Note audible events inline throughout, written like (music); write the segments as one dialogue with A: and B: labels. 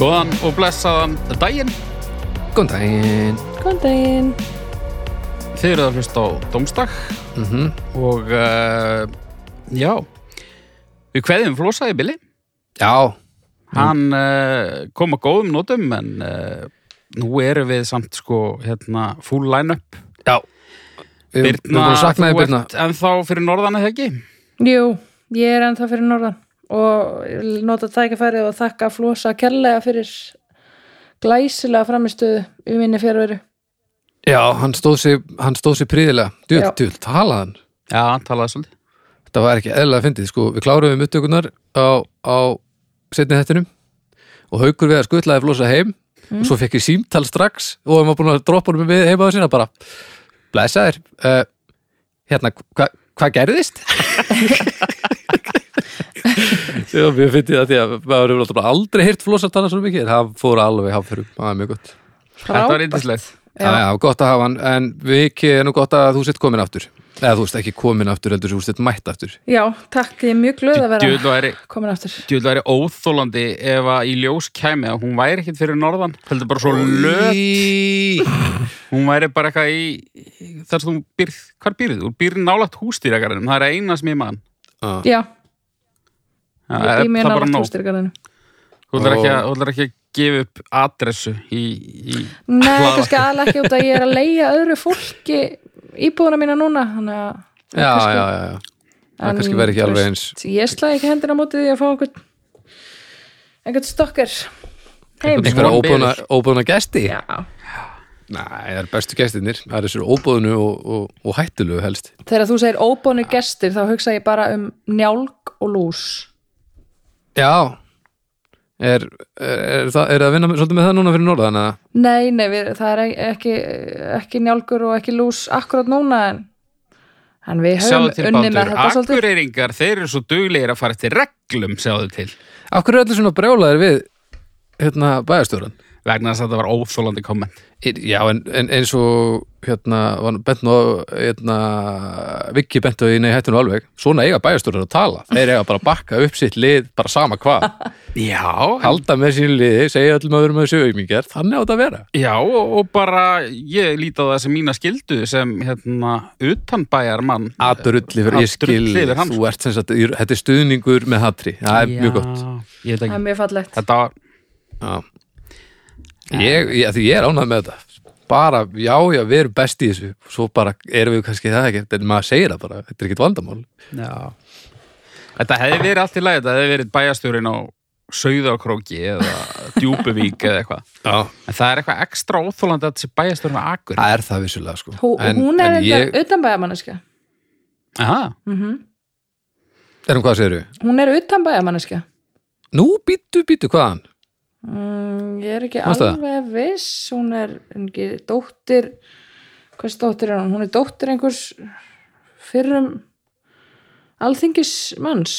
A: Góðan og blessaðan daginn.
B: Góðan daginn
C: Góðan daginn.
A: Þið eruð að hlusta á Dómstak Mhm. og uh, já, við kveðum Flosa í bili.
B: Já,
A: Hann uh, kom að góðum nótum en uh, nú erum við samt sko hérna full line-up.
B: já Við við erum búin að sakna þér
A: þú
B: Birna
A: ert ennþá fyrir norðan eða ekki?
C: Jú, ég er ennþá fyrir norðan og ég vil nota tækifærið og þakka Flosa kærlega fyrir glæsilega framistuðu í minni fjárveru.
B: Já, hann stóð sér, hann stóð sér príðilega Djöld,
C: Já.
B: djöld, talaðan
A: Já, talaði svolítið.
B: Þetta var ekki eðlilega fyndið, sko Við kláruðum upptökunar á, á setni þettinum og haukur við að skutlaði flosa heim og svo fekk ég símtal strax og hann var búin að droppa honum við heima á sína bara Blessaðir, uh, hérna, hva- hvað gerðist? (laughs) Já, mér fyndi það því að maður hefur náttúrulega aldrei heyrt flosa tala svo mikið, en það fór alveg hafðurum, það er mjög gott
A: Þetta var yndislegt.
C: Já.
B: Já, já, gott að hafa hann, en Viki er nú gott að þú sett komin aftur. Eða þú veist ekki komin aftur, heldur þú sett mætt aftur.
C: Já, takk, ég er mjög glöð að
A: Djöðl
C: vera
A: væri,
C: komin aftur.
A: djöfull væri óþólandi ef að í ljós kæmi að hún væri ekkit fyrir norðan. Heldur bara svo lög
B: Í-
A: Hún væri bara eitthvað í, þar sem þú býrð, hvar býrðu? Þú býrð nálægt hústýragarinn, það er eina sem ég mann.
B: Já.
C: Já,
A: Það
C: ég
A: er
C: er mér
A: það er bara
C: nála
A: nóg.
C: tóstyrgarðinu.
A: Þú ætlar ekki, að- þú ætlar ekki að gefa upp adressu í, í
C: Nei,
A: Hlaðvarp.
C: kannski aðlega ekki út að ég er að leia öðru fólki íbúðuna mína núna, þannig að
B: Já, já, já, já. Það
C: En,
B: kannski verði ekki
C: þú
B: alveg
C: veist, Ég slæði ekki hendina á móti því að fá einhvern einhvern stokkar heim
A: Einhvern-
B: Einhverja
A: Von
B: óbúna,
A: biður.
B: óbúna gesti?
C: Já,
B: Næ, það er bestu gestinir. Það er þessir óbúnu og, og, og hættulegu helst.
C: Þegar þú segir óbónu gestir þá hugsa ég bara um njálg og lús
B: Já. Er, er, er, það, er það að vinna með- svolítið með það núna fyrir norðan? eða?
C: Nei, nei, við, það er e- ekki, ekki njálgur og ekki lús akkurat núna en, en við
A: sjáðu
C: höfum
A: til
C: unni með
A: bandur.
C: þetta svolítið
A: Akureyringar, þeir eru svo duglegir að fara eftir reglum, sjáðu til.
B: Af hverju er allir svona brjálaðir við hérna, bæjarstjóran?
A: Vegna þess að þetta var óþólandi komment.
B: Já, en, en eins og hérna, var nú bent nú á, hérna, Viki bent á í nei hættinu alveg, svona eiga bæjarstjórar að tala þeir eiga bara að bakka upp sitt lið bara sama hvað,
A: Já,
B: halda með sínu liði segja öllum að vera með þessu augmingar, þannig á þetta að vera
A: já og, og bara ég líti á það sem mína skildu sem hérna utanbæjar mann.
B: Aturulli fyrir, ég skil,
A: Aturulli fyrir hann.
B: þú ert sem sagt, í- þetta er stuðningur með hatri, það er mjög gott
A: Ég veit
C: Það er
A: ekki.
C: mjög fallegt
A: Þetta var
B: Já. Ég, ég, af því ég er ánægð með þetta bara, já, já, við erum best í þessu svo bara erum við kannski það ekki en maður segir það bara, þetta er ekkit vandamál
A: Já. Þetta hefði verið allt í lagi, þetta hefði verið bæjastjórin á Sauðakróki eða Djúpuvík eða eitthvað.
B: Já,
A: En það er eitthvað ekstra óþólandi að þessi bæjastjórin á Akur.
B: það er það vissulega sko.
C: Hú, Hún er
B: ég,
C: þetta utanbæjamanneska
A: Aha,
B: erum hvað segir
C: Hún er utanbæjamanneska
B: Nú býttu, býttu hvaðan?
C: Mm, ég er ekki
B: Manstu það?
C: alveg viss hún er ekki dóttir hvers dóttir er hún? Hún er dóttir einhvers fyrrum alþingismanns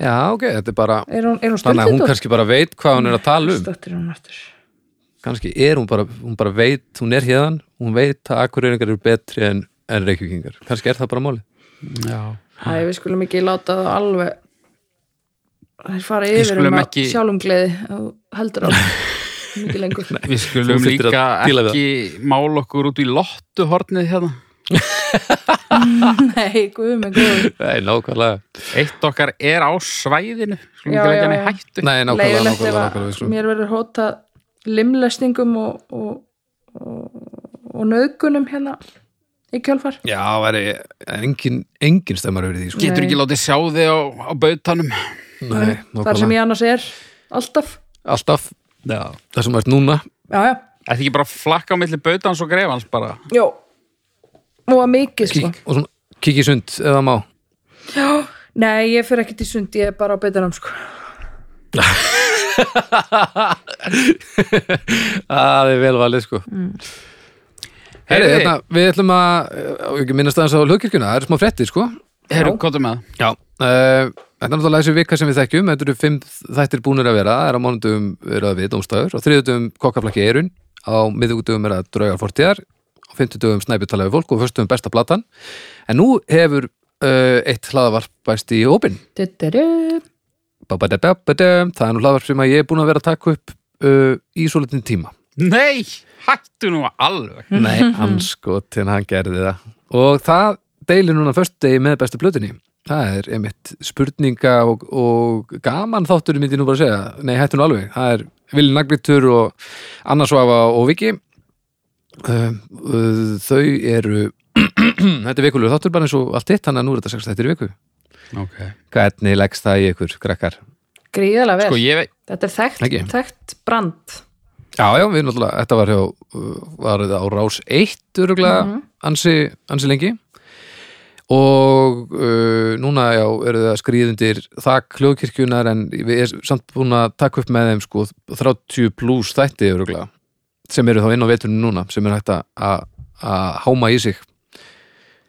B: Já, ok, þetta er bara
C: er hún, er hún
B: þannig að
C: stöldið
B: hún kannski bara veit hvað hún er að tala um
C: dóttir er hún aftur
B: kannski er hún bara, hún bara veit hún er hérðan, hún veit að akkurreiningar eru betri en, en reykjúkingar kannski er það bara máli
A: já.
C: Æ, við skulum ekki láta það alveg þeir fara yfir
A: skulum
C: um
A: ekki-
C: að sjálfum gleði heldur á
B: (laughs)
C: mikið lengur
A: Við skulum
B: Þú þyrftir
A: líka
B: að díla við
A: ekki mála okkur út í lottuhornið hérna.
C: nei, guðum en guðum
B: Nei, nákvæmlega
A: Eitt okkar er á svæðinu, skulum
C: Já,
A: ekki
C: já,
A: leggja hann í
C: já.
A: hættu.
B: Nei, nákvæmlega, nákvæmlega,
C: leiðilegt ef
B: nákvæmlega, sko.
C: að
B: nákvæmlega.
C: mér verður hótað limlestingum og, og, og, og nöðgunum hérna í kjálfar
B: Já, það er engin, engin stemmar verið því,
A: Getur ekki látið sjá þig á, á bautanum.
B: sko Nei,
C: þar sem
B: nákvæmlega,
C: ég annars er alltaf
B: alltaf
A: Já.
B: það sem ert núna
C: já, já,
A: Þetta ekki bara flakka á milli bautans og grefans bara.
C: já og að mikið sko
B: kík, og svona kikið sund eða má
C: nei, ég fyrir ekkert í sund, ég er bara á betanum sko
B: Það er vel valið, sko
C: Mm.
B: Heri,
A: Heyrðu,
B: hérna, við ætlum að eh, ekki minnast aðeins á hlugkirkjuna, það er smá fréttir, sko
A: Herru, kóttu með það.
B: Já, uh, þetta er náttúrulega þessi vika sem við þekkjum Þetta eru fimm þættir búnir að vera Það er á mánudum er að við dómstæður og þriðutum kokkaflakki eirun á miðugdugum er að draugar fortíðar á fimmtudugum snæpið talaði fólk og fyrstum besta platan eh, En nú hefur uh, eitt hlaðavarp bæst í hópin
C: Du-du-du.
B: Ba-ba-da-ba-ba-dum. Það er nú hlaðvarp sem að ég er búin að vera að taka upp uh, í svo litin tíma.
A: Nei, hættu nú alveg
B: Nei, hans gott, en hann gerði það. Og það deilir núna föstudegi með bestu blötunni. Það er einmitt spurninga og, og gaman þáttur myndi ég nú bara að segja. Nei, hættu nú alveg. Það er Vili Naglitur og Anna Svafa og Viki. Uh, uh, þau eru, (clears throat) þetta er vikulegu þáttur bara eins og allt hitt, þannig að nú er þetta sex þættir í viku.
A: okay.
B: Hvernig leggst það í ykkur, krakkar?
C: gríðalega vel
A: Sko ég veit
C: þetta er
B: Ekki.
C: þekkt, þekkt brand
B: Já, já, við náttúrulega, þetta var hjá uh, var þetta á rás 1 öruglega ansi, ansi lengi og uh, núna já, eru það skrýðundir þak hljóðkirkjunar en við erum samt búin að taka upp með þeim sko 30 pluss þætti öruglega sem eru þá inn á veturinn núna sem er hægt að- að að háma í sig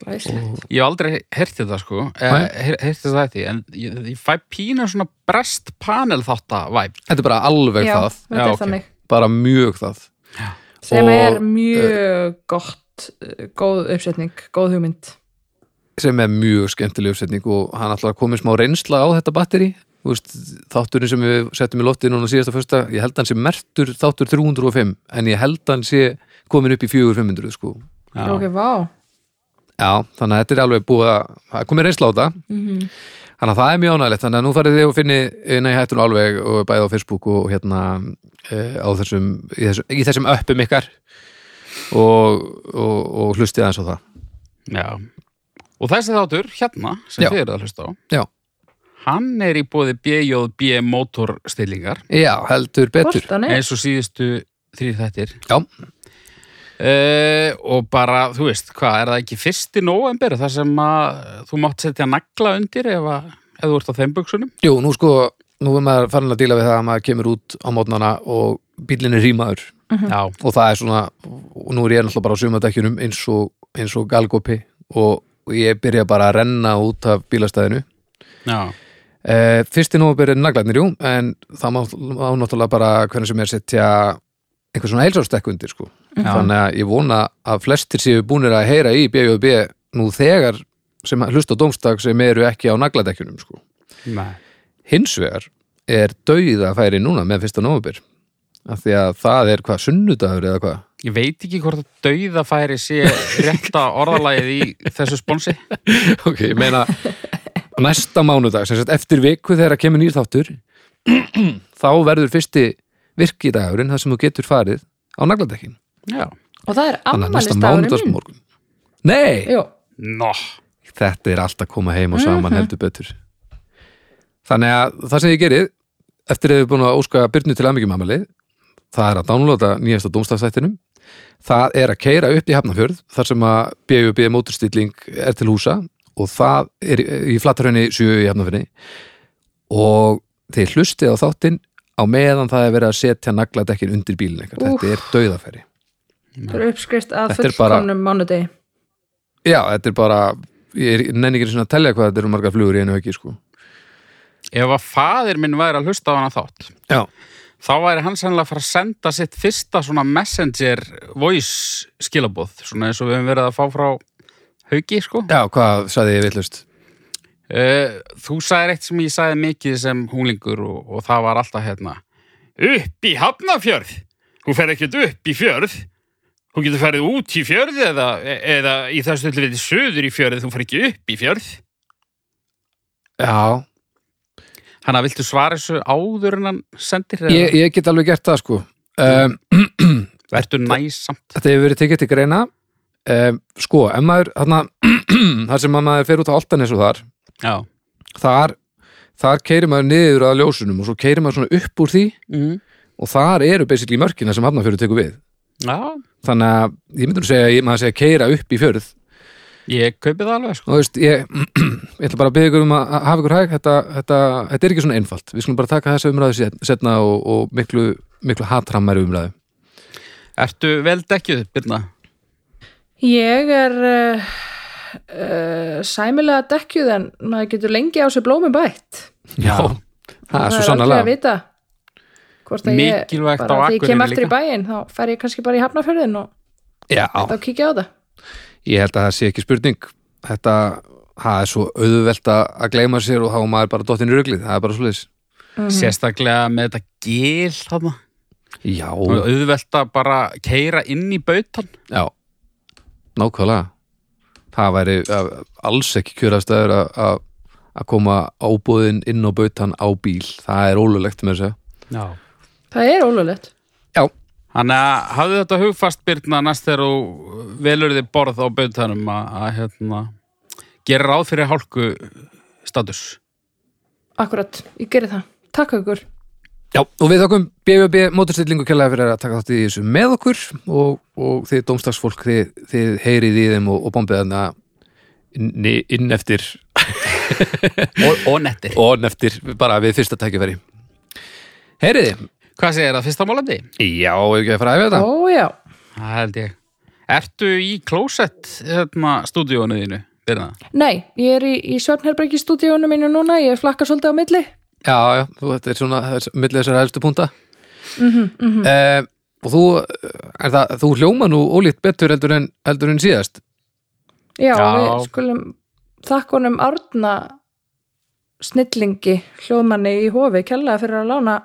C: Glæsilegt.
A: Ég hef aldrei hertið það sko
B: Nei.
A: Hertið það þetta En ég, ég fæ pína svona brest panel þáttavæp
B: þetta er bara alveg
C: já,
B: það,
C: þetta
A: Já,
C: er
A: ok.
C: þannig
B: bara mjög það
C: sem
B: Og, eh,
C: er mjög gott uh, góð uppsetning, góð hugmynd
B: sem er mjög skemmtileg uppsetning og hann ætlar að koma með smá reynsla á þetta batteri veist, þátturinn sem við settum í lotti núna síðasta fyrsta, ég held hann sé mertur þáttur 305, en ég held hann sé komin upp í 4500 sko
C: ok, vá
B: Já, þannig að þetta er alveg búið að það er komið reynsla á þetta þannig að það er mjög ánægilegt, þannig að nú farið þið og finni nei, hættur nú alveg og bæði á Facebook og hérna eh, á þessum í þessum, í þessum uppum ykkar og, og, og hlustið aðeins á það
A: Já Og þessi þáttur, hérna, sem
B: Já.
A: þið eru að hlusta á
B: Já,
A: Hann er í bóði BJB mótorstillingar
B: Já heldur betur
C: hvort hann er,
A: eins og síðustu þrýr þættir
B: Já,
A: Uh, og bara, þú veist, hvað, er það ekki fyrst í nóvember þar sem að þú mátt setja nagla undir ef, að, ef þú ert á þeim buksunum?
B: Jú, nú sko, nú er maður farin að díla við það að maður kemur út á mótnana og bílinn er rýmaður
A: Já,
B: og það er svona, og nú er ég náttúrulega bara á sumadekkjunum eins og, eins og galgopi og og ég byrja bara að renna út af bílastæðinu.
A: já,
B: Eh, Fyrst í nóvabur er naglarnir, jú, en það má, má náttúrulega bara hvernig sem er setja einhver svona heilsárstekk undir, sko. Þannig að ég vona að flestir séu búnir að heyra í BJB nú þegar sem hlusta á dómstak sem eru ekki á nagladekkjunum, sko.
A: nei,
B: Hins vegar er dauða færi núna með fyrsta nómubir af því að það er hvað sunnudagur eða hvað
A: ég veit ekki hvort að dauða færi sé rétta orðalagið í þessu sponsi.
B: ok, ég meina næsta mánudag, sem sagt eftir viku þegar að kemur nýr þáttur (clears throat) þá verður fyrsti virkidagurinn þar sem þú getur farið á nagladekkin
A: Já,
C: og það er
B: að næsta
C: ammælistafurinn minn
B: mánudagsmorgun Nei,
C: Jú,
A: nó,
B: þetta er allt að koma heim og saman heldur betur Þannig að það sem ég gerið eftir að við erum búin að óska Byrnu til aðmyggjum amali það er að downloada nýjasta dómstafstættinum það er að keira upp í Hafnarfjörð þar sem að BUB móturstilling er til húsa og það er í- í flattarhönni 7 í Hafnarfjörni og þeir hlustið á þáttinn á meðan það er verið að setja nagladekkin undir bílinn ykkar, þetta er dauðafæri
C: það er uppskrift að
B: Þetta er bara-
C: fullkomnum mánudegi
B: Já, þetta er bara ég er nenni ekki svona að telja hvað þetta eru margar flugur í einu ekki sko.
A: ef að faðir minn væri að hlusta á hana þátt,
B: Já,
A: þá væri hann sennilega að fara að senda sitt fyrsta svona messenger voice skilabóð, svona eins og við höfum verið að fá frá hauki, sko.
B: Já, hvað sagði ég villust?
A: Eh, Þú sagði eitt sem ég sagði mikið sem húlingur og, og það var alltaf hérna Upp í hafnafjörð Þú fer ekkert upp í fjörð Þú getur ferið út í fjörð eða, eða í þessu tilviti söður í fjörð þú fer ekki upp í fjörð
B: Já,
A: Þannig að viltu svara þessu áður en hann sendir eða
B: ég, ég get alveg gert það sko um,
A: Vertu næsamt
B: Þetta hefur verið tekið til greina um, Sko, ef maður þarna, (clears throat) þar sem að maður fer út á Altanes og þar
A: Já
B: þar, þar keirir maður niður að ljósunum og svo keirir maður svona upp úr því
A: mm.
B: og þar eru basically mörkina sem hafnafjörðu tekur við
A: Já,
B: Þannig að ég myndur að segja að ég maður segja keira upp í fjörð
A: ég kaupi það alveg sko
B: og þú veist, ég, (clears throat) ég ætla bara að byggja ykkur um að hafa ykkur hæg þetta, þetta, þetta er ekki svona einfalt við skulum bara taka þessa umræðu setna og, og miklu, miklu hatrammari umræðu
A: Ertu vel dekkjuð, Birna?
C: Ég er uh, uh, sæmilega dekkjuð en maður getur lengi á sér blómi bætt.
B: Já, það er svo
C: aldrei að
B: sannarlega
C: vita hvort að
A: Mikilvægt á
C: ég, bara þegar ég kem
A: Akureyri
C: eftir í
A: líka.
C: bæin, þá fer ég kannski bara í hafnafjörðin og
B: Já,
C: þá kíkja á það.
B: ég held að það sé ekki spurning Þetta, það er svo auðvelt að að gleyma sér og þá er maður bara dottinn í ruglið, það er bara svoleiðis
A: sérstaklega með þetta gil þarna
B: Já,
A: og auðvelta bara keira inn í bautan
B: já Nákvæmlega Það væri uh, alls ekki kjörastæður að- að að koma ábúðin inn á bautan á bíl Það er ólulegt með þessu
A: Já.
C: það er ólulegt
B: Já,
A: Þannig að hafðu þetta hugfast Birna næst þegar þú velur þið borð á bautanum að, að hérna, gera ráð fyrir hálku status.
C: akkurat, ég geri það, takk ykkur
B: Já, og við þakkum BVB mótorstillingu kjærlega fyrir að taka þátt í þessu með okkur og, og þið domstagsfólk þið, þið heyrið í þeim og, og bombið þarna inn, inn eftir
A: Og, og netti.
B: og inn eftir bara við fyrsta tækifæri Heyriði,
A: Hvað segir það fyrsta málandi?
B: já, ef ekki að fara að æfa þetta
C: ó já,
A: Það held ég. Ertu í klósett hérna, stúdíónu þínu, Birna?
C: nei, ég er í, í svefnherbergi stúdíónu mínu núna, ég flakka svolítið á milli
B: Já, já, þú, þetta er svona þess, milli þessar helstu púnta mm -hmm, Og þú, eh, er það, þú hljóma nú ólíkt betur heldur en, heldur en síðast
C: já,
A: Já.
C: við skulum þakkunum Árna snillingi hljóðmanni í hofi kella fyrir að lána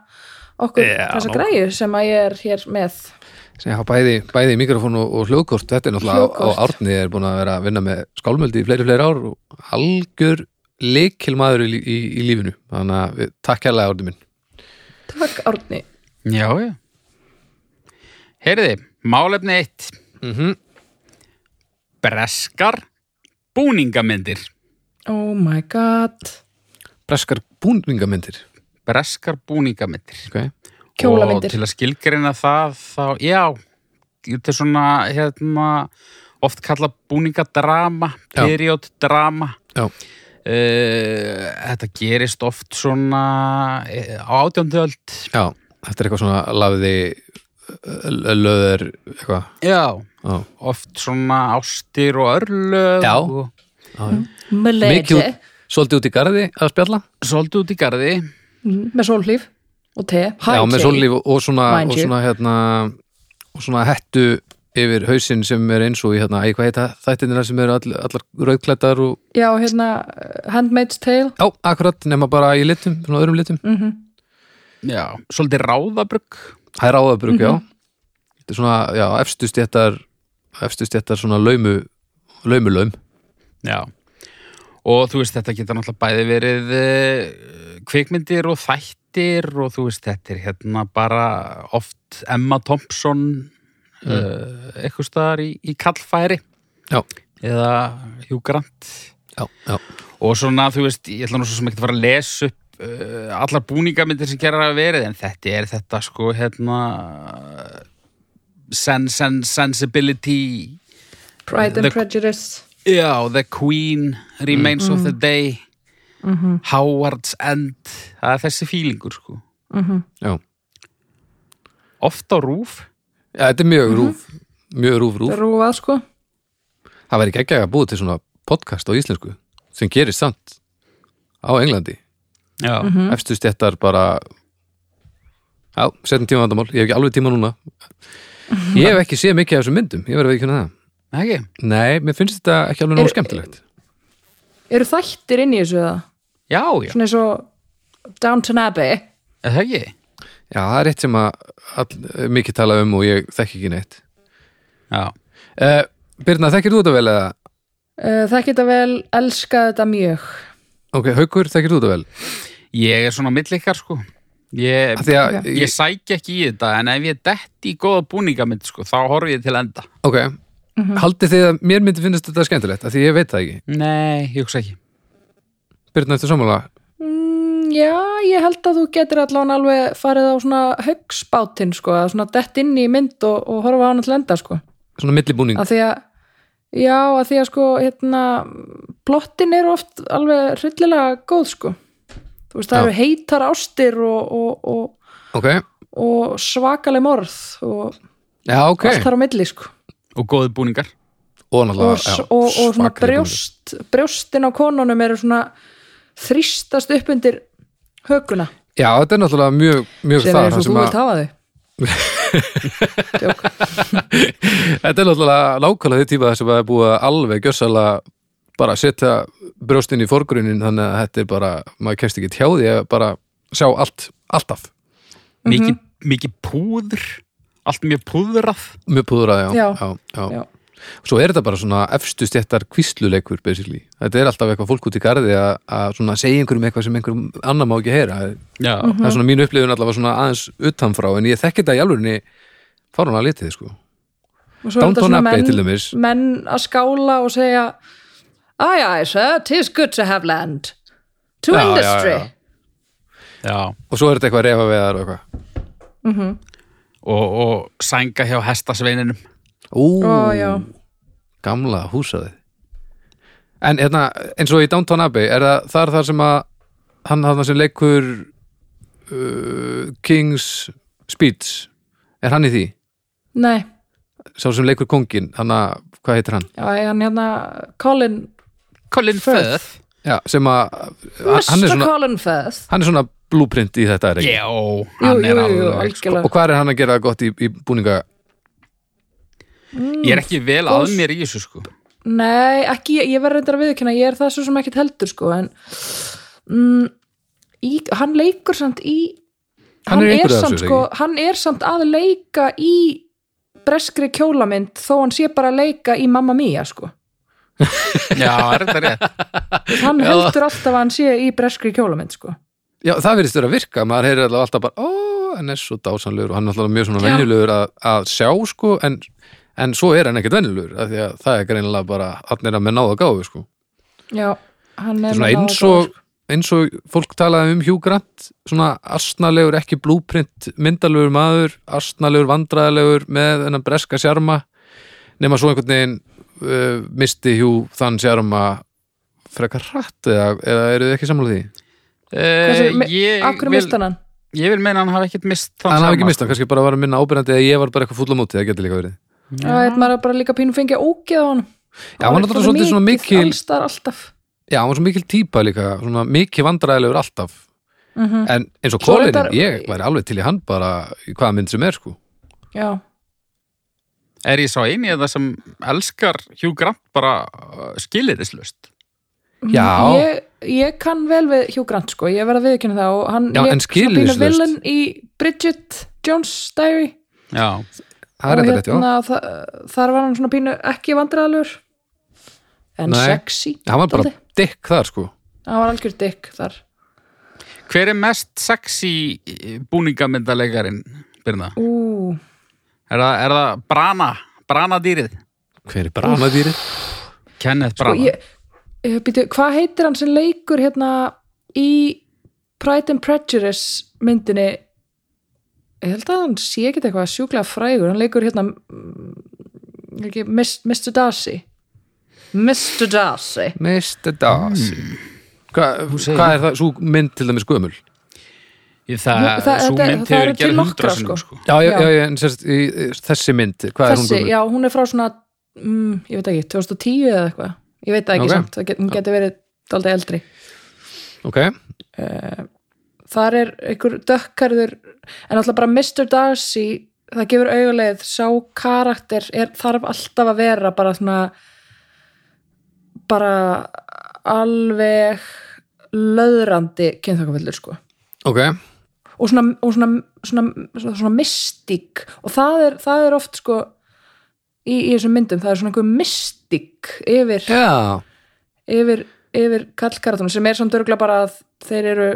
C: okkur
B: Já.
C: þessa græju sem að ég er hér með
B: sem hafa bæði, bæði mikrofón og, og hljóðkort þetta er náttúrulega
C: Hljóðkort.
B: á árni er búin að vera að vinna með skálmöldi í fleiri fleiri ár og algjör leikilmaður í, lí- í, í lífinu þannig að við, takk kærlega árni minn
C: takk Árni
A: Já, já. Heyriði, málefni eitt.
B: Mhm.
A: Breskar búningamyndir.
C: oh my god,
B: breskar búningamyndir
A: Breskar búningamyndir.
B: okay.
A: og
C: kjólamyndir
A: til að skilgreina það þá, já þetta er svona hérna, oft kalla búningadrama
B: Já.
A: perioddrama
B: Já.
A: Eh, þetta gerist oft svona eh, á átjöndöld
B: já, þetta er eitthvað svona lafiði löður eitthvað
A: já,
B: Já.
A: oft svona ástir og örlög
B: Já.
A: og
B: mikið,
C: Mleiti,
B: út- svolítið út í garði að spjalla
A: svolítið út í garði
C: Mm, með sólhlíf og te
B: já, með sóllíf og, og svona,
C: Mind
B: og
C: you.
B: svona, hérna, og svona hettu yfir hausinn sem er eins og í hérna, æ, hvað heita þættinina sem eru all, allar rauðklættar og
C: já, hérna, uh, Handmaid's Tale
B: Já, akkurat, nema bara í litum, svona öðrum litum.
A: já, svolítið ráðabrugg
B: Það er ráðabrug, já. Þetta er svona, já, efstu stjættar, efstu stjættar svona laumu, laumu laum.
A: já og þú veist þetta geta náttúrulega bæði verið eh, kvikmyndir og þættir og þú veist þetta er hérna bara oft Emma Thompson mm. eitthvað staðar í, í kallfæri
B: Já,
A: eða Hugh Grant
B: já, já.
A: og svona þú veist ég ætla nú svo sem ekki að fara að lesa upp uh, allar búningamyndir sem gerar að verið en þetta er þetta sko hérna sen, sen, sensibility
C: Pride
A: The-
C: and Prejudice
A: Já, The Queen, Remains of the
B: Mm.
A: Day
B: Mhm.
A: Howard's End Það er þessi fílingur sko
B: Já,
A: Oft á rúf
B: já þetta er mjög rúf, mjög rúf rúf.
C: rúvað sko
B: Það væri ekki að búið til svona podcast á íslensku sem gerist samt á Englandi.
A: Já,
B: Efstu stjættar bara, já, setjum tíma vandamál, ég hef ekki alveg tíma núna. Ég hef ekki séð mikið af þessum myndum, ég verið að veikuna það.
A: ekki
B: Nei, mér finnst þetta ekki alveg nóg skemmtilegt.
C: eru þættir inn í þessu það
A: Já, já,
C: svona eins og Downton Abbey
A: er það ekki
B: Já, það er eitt sem að all, mikið tala um og ég þekki ekki neitt.
A: Já,
B: Uh, Birna, þekkir þú þetta vel eða?
C: Uh, það geta vel elskað þetta mjög
B: Ok, Haukur, þekkir þú þetta vel?
A: ég er svona millikar sko Ég,
B: Af Því að,
C: Ok.
A: ég sæki ekki í þetta en ef ég detti í góða búningamynd sko þá horfi ég til enda
B: ok, haldið þið að mér myndi finnast þetta skemmtilegt? Af því ég veit það ekki.
A: Nei, ég hugsa ekki
B: Birna, eftir sammála?
C: mm, Já, ég held að þú getur allan alveg farið á svona högspátinn sko, að svona dett inn í mynd og, og horfa á hana til enda sko.
B: Svona millibúning?
C: að því að já, að því að sko hérna, plottin eru oft alveg hryllilega góð sko. þú veist,
B: Já.
C: það eru heitar ástir og, og, og,
B: Ok,
C: og svakaleg morð og
B: já, ok.
C: allt þar á milli sko.
A: Og góði búningar
B: Og
C: og,
B: náttúrulega, já.
C: og, og svona
B: svakaleg
C: brjóst brjóstin á konunum eru svona þrýstast upp undir höguna
B: búning. Já, þetta er náttúrulega mjög, mjög
C: sem
B: það. það
C: er eins og
B: sem
C: þú
B: að-
C: vilt hafa þau
B: Þetta er náttúrulega nákvæmlega því tíma sem að það er búið að alveg gjössalega bara setja brjóstin í forgrunin þannig að þetta er bara, maður kemst ekki hjá því að bara sjá allt, alltaf Mhm.
A: mikið, mikið púður allt mjög púðrað
B: mjög púðra, já,
C: Já.
B: Já, já.
C: Já.
B: Svo er þetta bara svona efstu stjættar kvísluleikur, basically. Þetta er alltaf eitthvað fólk út í garði að- að svona segja einhverjum eitthvað sem einhverjum annar má ekki heyra. Það er-
A: já,
B: Það er svona mín upplifun allavega svona aðeins utanfrá, en ég þekki þetta í alvörinni fárun að litið, sko.
C: og svo er þetta
B: Downton
C: svona
B: Abbey
C: menn,
B: til dæmis.
C: menn að skála og segja aye aye sir, tis good to have land to
B: Já, já,
C: industry
B: já.
A: já.
B: Og svo er þetta eitthvað refa veðar og eitthvað.
A: Og, og sænga hjá hestasveininum
B: Ú,
C: Ó, já.
B: gamla húsaði. En hérna, eins og í Downton Abbey, er það þar þar sem að hann hann sem leikur uh, King's Speech, er hann í því?
C: nei,
B: sá sem leikur kongin hann að, hvað heitir hann?
C: já, hann hérna Colin,
A: Colin Firth
B: Já, sem að hann er
C: Mr.
B: svona,
C: Colin Firth
B: hann er svona blúprint í þetta er ekki?
A: já, hann
C: jú,
A: er
C: jú, jú,
A: alveg sko.
C: algjörlega
B: Og hvað er hann að gera gott í, í búninga?
A: ég er ekki vel að mér í þessu sko
C: Nei, ekki, ég verður reyndar að viðkynna, ég er það svo sem ekkert heldur sko, en mm, í, hann leikur samt í
B: Hann er í einhverju af
C: samt,
B: þessu,
C: sko, hann er samt að leika í breskri kjólamynd þó hann sé bara að leika í Mamma Mia sko.
A: já, er þetta rétt
C: hann heldur alltaf að hann sé í breskri kjólamynd sko.
B: Já, það verðist vera að virka, maður heyrir allavega alltaf bara, ó, hann er svo dásanlegur og hann er alltaf mjög svona
C: Já.
B: venjulegur að, að sjá sko, en, en svo er hann ekkert venjulegur, af því að það er greinilega bara, hann er að með náða gáfu sko.
C: Já, hann
B: Þetta
C: er
B: er svona
C: með
B: eins
C: náð á
B: og eins og fólk talaði um Hugh Grant svona astnalegur, ekki blúprint myndalegur maður, astnalegur vandræðalegur með þennan breska sjarma nema svo einhvern veginn uh, misti Hugh þann sjarma frekar hratt eða, eða eru þið ekki samlega því?
C: (laughs) Hversu-
A: uh,
C: me-
A: ég,
C: Af
A: vil,
C: hverju mistan hann?
A: ég vil meina hann hafi ekkert mist þann
B: Hann hafi ekki
A: sama,
B: mistað, kannski bara var að minna ábyrjandi eða ég var bara eitthvað fúll á móti, það getur líka verið
C: Já, þetta maður er bara líka pínu fengið ógeð á hann
B: Já, hann var náttúrulega svolítið svona mikil
C: Allstar alltaf
B: Já, hann var svo mikil típa líka, svona mikil vandræðilegur alltaf
C: mm
B: en eins og
C: Svo
B: Colin,
C: reyndar-
B: ég væri alveg til í hann bara í hvaða mynd sem er sko
C: Já,
A: er ég sá eini eða sem elskar Hugh Grant bara uh, skilirislust
B: Já.
C: Mhm. ég, ég kann vel við Hugh Grant sko, ég verð að viðkynna það og hann
B: Já,
C: ég,
B: en skilyrðislaust.
C: villan í Bridget Jones Diary
A: já,
B: Það er
C: og hérna-
B: þetta rétt, já
C: þa þar var hann svona pínu ekki vandræðalur en
B: Nei.
C: sexy
B: hann var bara
C: dálítið.
B: dikk þar sko
C: hann var algjör dick þar
A: hver er mest sexy eh, búningamyndalegarinn Birna?
C: Ú,
A: Er það, er það brana, branadýrið?
B: hver er branadýrið?
A: Kenneth
C: og
A: Brana.
C: Sko, ég, ég, býtu, Eh, hvað heitir hann sem leikur hérna í Pride and Prejudice myndinni ég held að hann sé ekki eitthvað sjúklega frægur, hann leikur hérna mm, ekki, Mis- Mr. Darcy Mr. Darcy
B: Mr. Darcy Hva,
A: segir-
B: hvað er Hmm. það, svo mynd til dæmis gömul
A: Ég, það,
C: Nú, það-
A: sú
C: þetta-
A: mynd
C: það
A: hefur
C: eru
A: verið gerð
C: til
A: hundra
C: nokkrar,
A: sinnum sko.
C: sko.
B: já, já,
C: Já.
B: já, já en sérst, í, í- þessi mynd, hvað er
C: Þessi,
B: hún gömul?
C: já, hún er frá svona mm, ég veit ekki, 2010 eða eitthvað ég veit það ekki
B: Ok.
C: samt, það get, hún getur verið daldið eldri
B: ok,
C: þar er einhver dökkarður en alltaf bara Mr. Darcy það gefur augulegð, sá karakter er, þarf alltaf að vera bara svona bara alveg löðrandi kynþakafellur sko
B: ok
C: og svona, og svona, svona, svona, svona mystík og það er, það er oft sko í, í þessum myndum, það er svona einhver mystík yfir
B: já,
C: yfir, yfir kallkaratunum sem er samt örgulega bara að þeir eru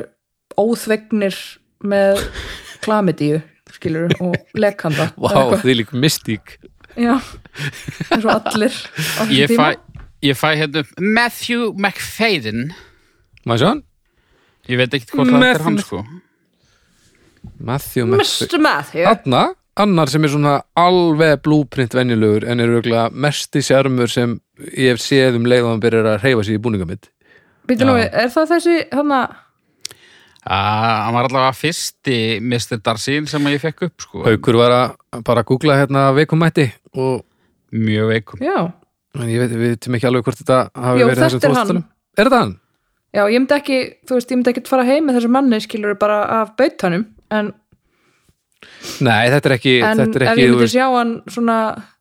C: óþvegnir (laughs) með klamidíu skilur og lekkanda
B: vá,
C: eða eitthvað.
B: því lík mystík
C: já, eins og allir á þessum
A: Ég
C: tíma.
A: fæ, ég fæ hérna upp Matthew McFadden.
B: maður sjá hann?
A: Ég veit ekkert hvort það er
B: Matthew-
A: hann sko.
B: Matthew
C: Mr. Matthew
B: Anna, annar sem er svona alveg blúprint venjulegur en er auðvitað mesti sjarmur sem ég hef séð um leið og hann byrjar að reyfa sér í búningamitt
C: Býtu nú, við, er það þessi hana,
A: Ah, hann var allavega fyrsti Mr. Darcy sem ég fekk upp sko.
B: Haukur var að bara googla hérna veikumætti og
A: Mjög veikum.
C: já,
B: En ég veit, við veitum ekki alveg hvort þetta hafi
C: Jú,
B: verið þessum
C: þetta er hann.
B: þóstalum. Er þetta hann?
C: já, ég myndi ekki þú veist, ég myndi ekki fara heim með þessu manni skilur bara af bautanum en,
B: Nei, þetta er ekki,
C: en
B: þetta er
C: ef
B: ekki,
C: ég
B: þú
C: myndi
B: veist,
C: sjá hann svona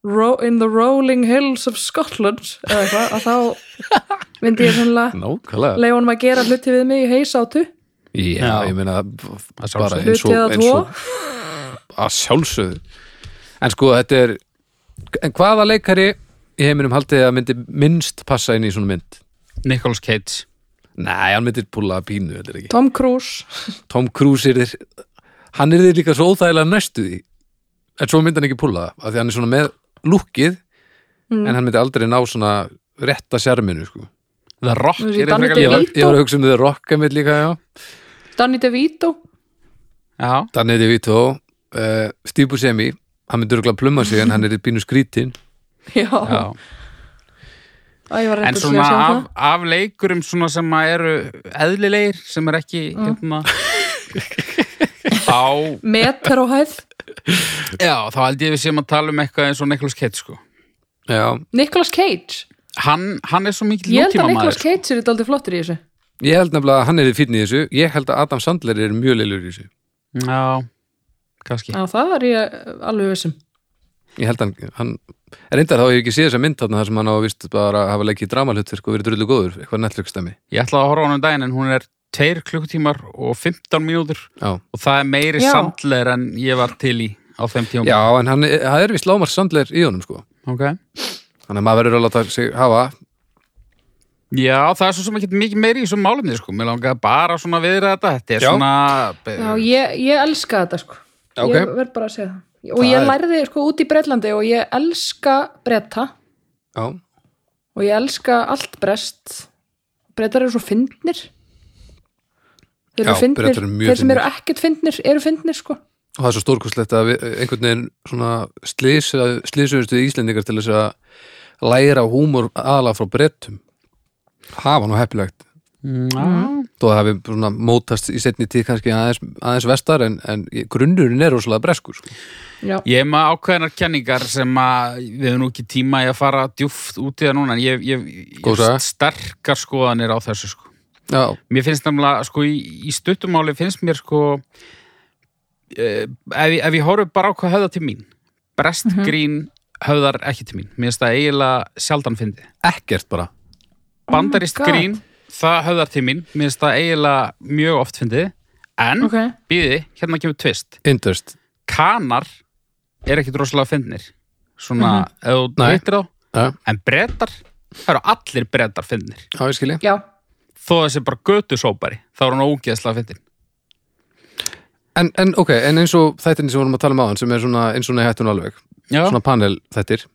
C: ro in the rolling hills of Scotland eða
B: (laughs)
C: eitthvað, að þá myndi ég svona
B: nákvæmlega.
C: leiði honum að gera hluti við mig í heisátu
B: já,
A: Já.
B: ég meina
A: Að
B: bara
A: sjálfsögðu.
B: eins
C: hluti
B: og,
C: eða
B: eins
C: tvo
B: og að sjálfsögðu en sko þetta er en hvaða leikari í heiminum haldið að myndi minnst passa inn í svona mynd
A: Nicholas Cage
B: nei, hann myndir púla pínu þetta er ekki.
C: Tom Cruise
B: Tom Cruise er þér hann er þér líka svo óþægilega næstu því en svo myndi hann ekki púla það af því hann er svona með lukkið en hann myndi aldrei ná svona rétta sjarminu sko.
A: The Rock
C: Þú veist,
A: yrði
C: Danny
A: frekar-
B: ég, var,
C: Vito?
B: ég var að hugsa um þau rocka mitt líka já.
C: Danny DeVito
A: Já,
B: Danny DeVito uh, Steve Buscemi hann myndi örgulega pluma sig en hann er í pínu skrítin
C: já,
A: já
C: Æ, ég var
A: En
C: reyndar að
A: svona
C: segja
A: af,
C: það
A: af leikurum svona sem að eru eðlilegir sem er ekki
C: Mm.
A: hérna þá,
C: meter og hæð
A: já, þá held ég við séum að tala um eitthvað eins og Nicholas Cage sko.
B: já,
C: Nicolas Cage
A: hann, hann er svo mikill
C: ég held
A: nútíma
C: að
A: maður
C: Nicolas Cage er aldrei flottur í þessu
B: Ég held nefnilega að hann er fínn í þessu Ég held að Adam Sandler er mjög leilur í þessu
A: Já, kannski
C: já, það er ég alveg vissum
B: Ég held að hann, hann Reyndar þá hef ég ekki séð þessa mynd þarna þar sem hann á að vist bara að hafa leikið dramahlutverk og verið drullu góður, eitthvað netflöggstæmi
A: Ég ætlaði að horfa á hann um daginn en hún er 2 klukkutímar og 15 mínútur
B: Já,
A: og það er meiri
C: Já.
A: sandler en ég var til í á þeim tíum
B: Já en hann er, hann er vist lámar Sandler í honum sko
A: okay.
B: Þannig að maður verður að láta sig hafa
A: Já, það er svo sem ekki mikið meiri í þessum málumni sko. Mér langaði bara svona viðra þetta Þetta er
B: Já.
C: já,
A: svona
C: ég, ég elska þetta sko
B: Já, ok.
C: ég verð bara að segja það og
B: Það
C: ég
B: er-
C: lærði sko út í Bretlandi og ég elska bretta
B: Já,
C: og ég elska allt brest brettar eru svo fyndnir þeir eru
B: Já,
C: fyndnir
B: Bretar eru mjög
C: þeir sem eru ekkert fyndnir eru fyndnir sko
B: og það er svo stórkostlegt að við, einhvern veginn svona slisa, slisuðustu íslendingar til þess að læra húmor aðla frá brettum hafa nú heppilegt
A: Já,
B: þó að það hafi svona mótast í setni tíð kannski aðeins, aðeins vestar en, en grunnurinn er rosalega breskur sko.
C: já,
A: Ég er með ákveðinar kenningar sem að við höfum nú ekki tíma í að fara djúft út í það núna en ég, ég, ég
B: Góð saga.
A: sterkar skoðanir á þessu sko.
B: já,
A: Mér finnst namlega, sko, í, í stuttumáli finnst mér sko eh, ef, ég- ef ég horfum bara á hvað höfða til mín
C: Mhm.
A: brestgrín höfðar ekki til mín. Mér finnst það eiginlega sjaldan fyndið.
B: ekkert bara
A: Bandarist
C: Oh God.
A: grín, það höfðar til mín. Mér finnst það eiginlega mjög oft fyndið. En,
C: ok
A: býði, hérna kemur tvist.
B: Interest,
A: kanar er ekkit rosalega fyndnir svona,
C: Mhm.
A: ef þú
B: Nei.
A: veitir þá
B: já,
A: en brettar, það eru allir brettar fyndnir,
B: já ég skilja
C: já,
A: þó þessi bara götu sópari, þá er hann ógeðslega fyndin
B: en, en ok, en eins og þættinni sem vorum að tala um áðan sem er svona eins og nei hættun alveg
A: já,
B: svona panel þættir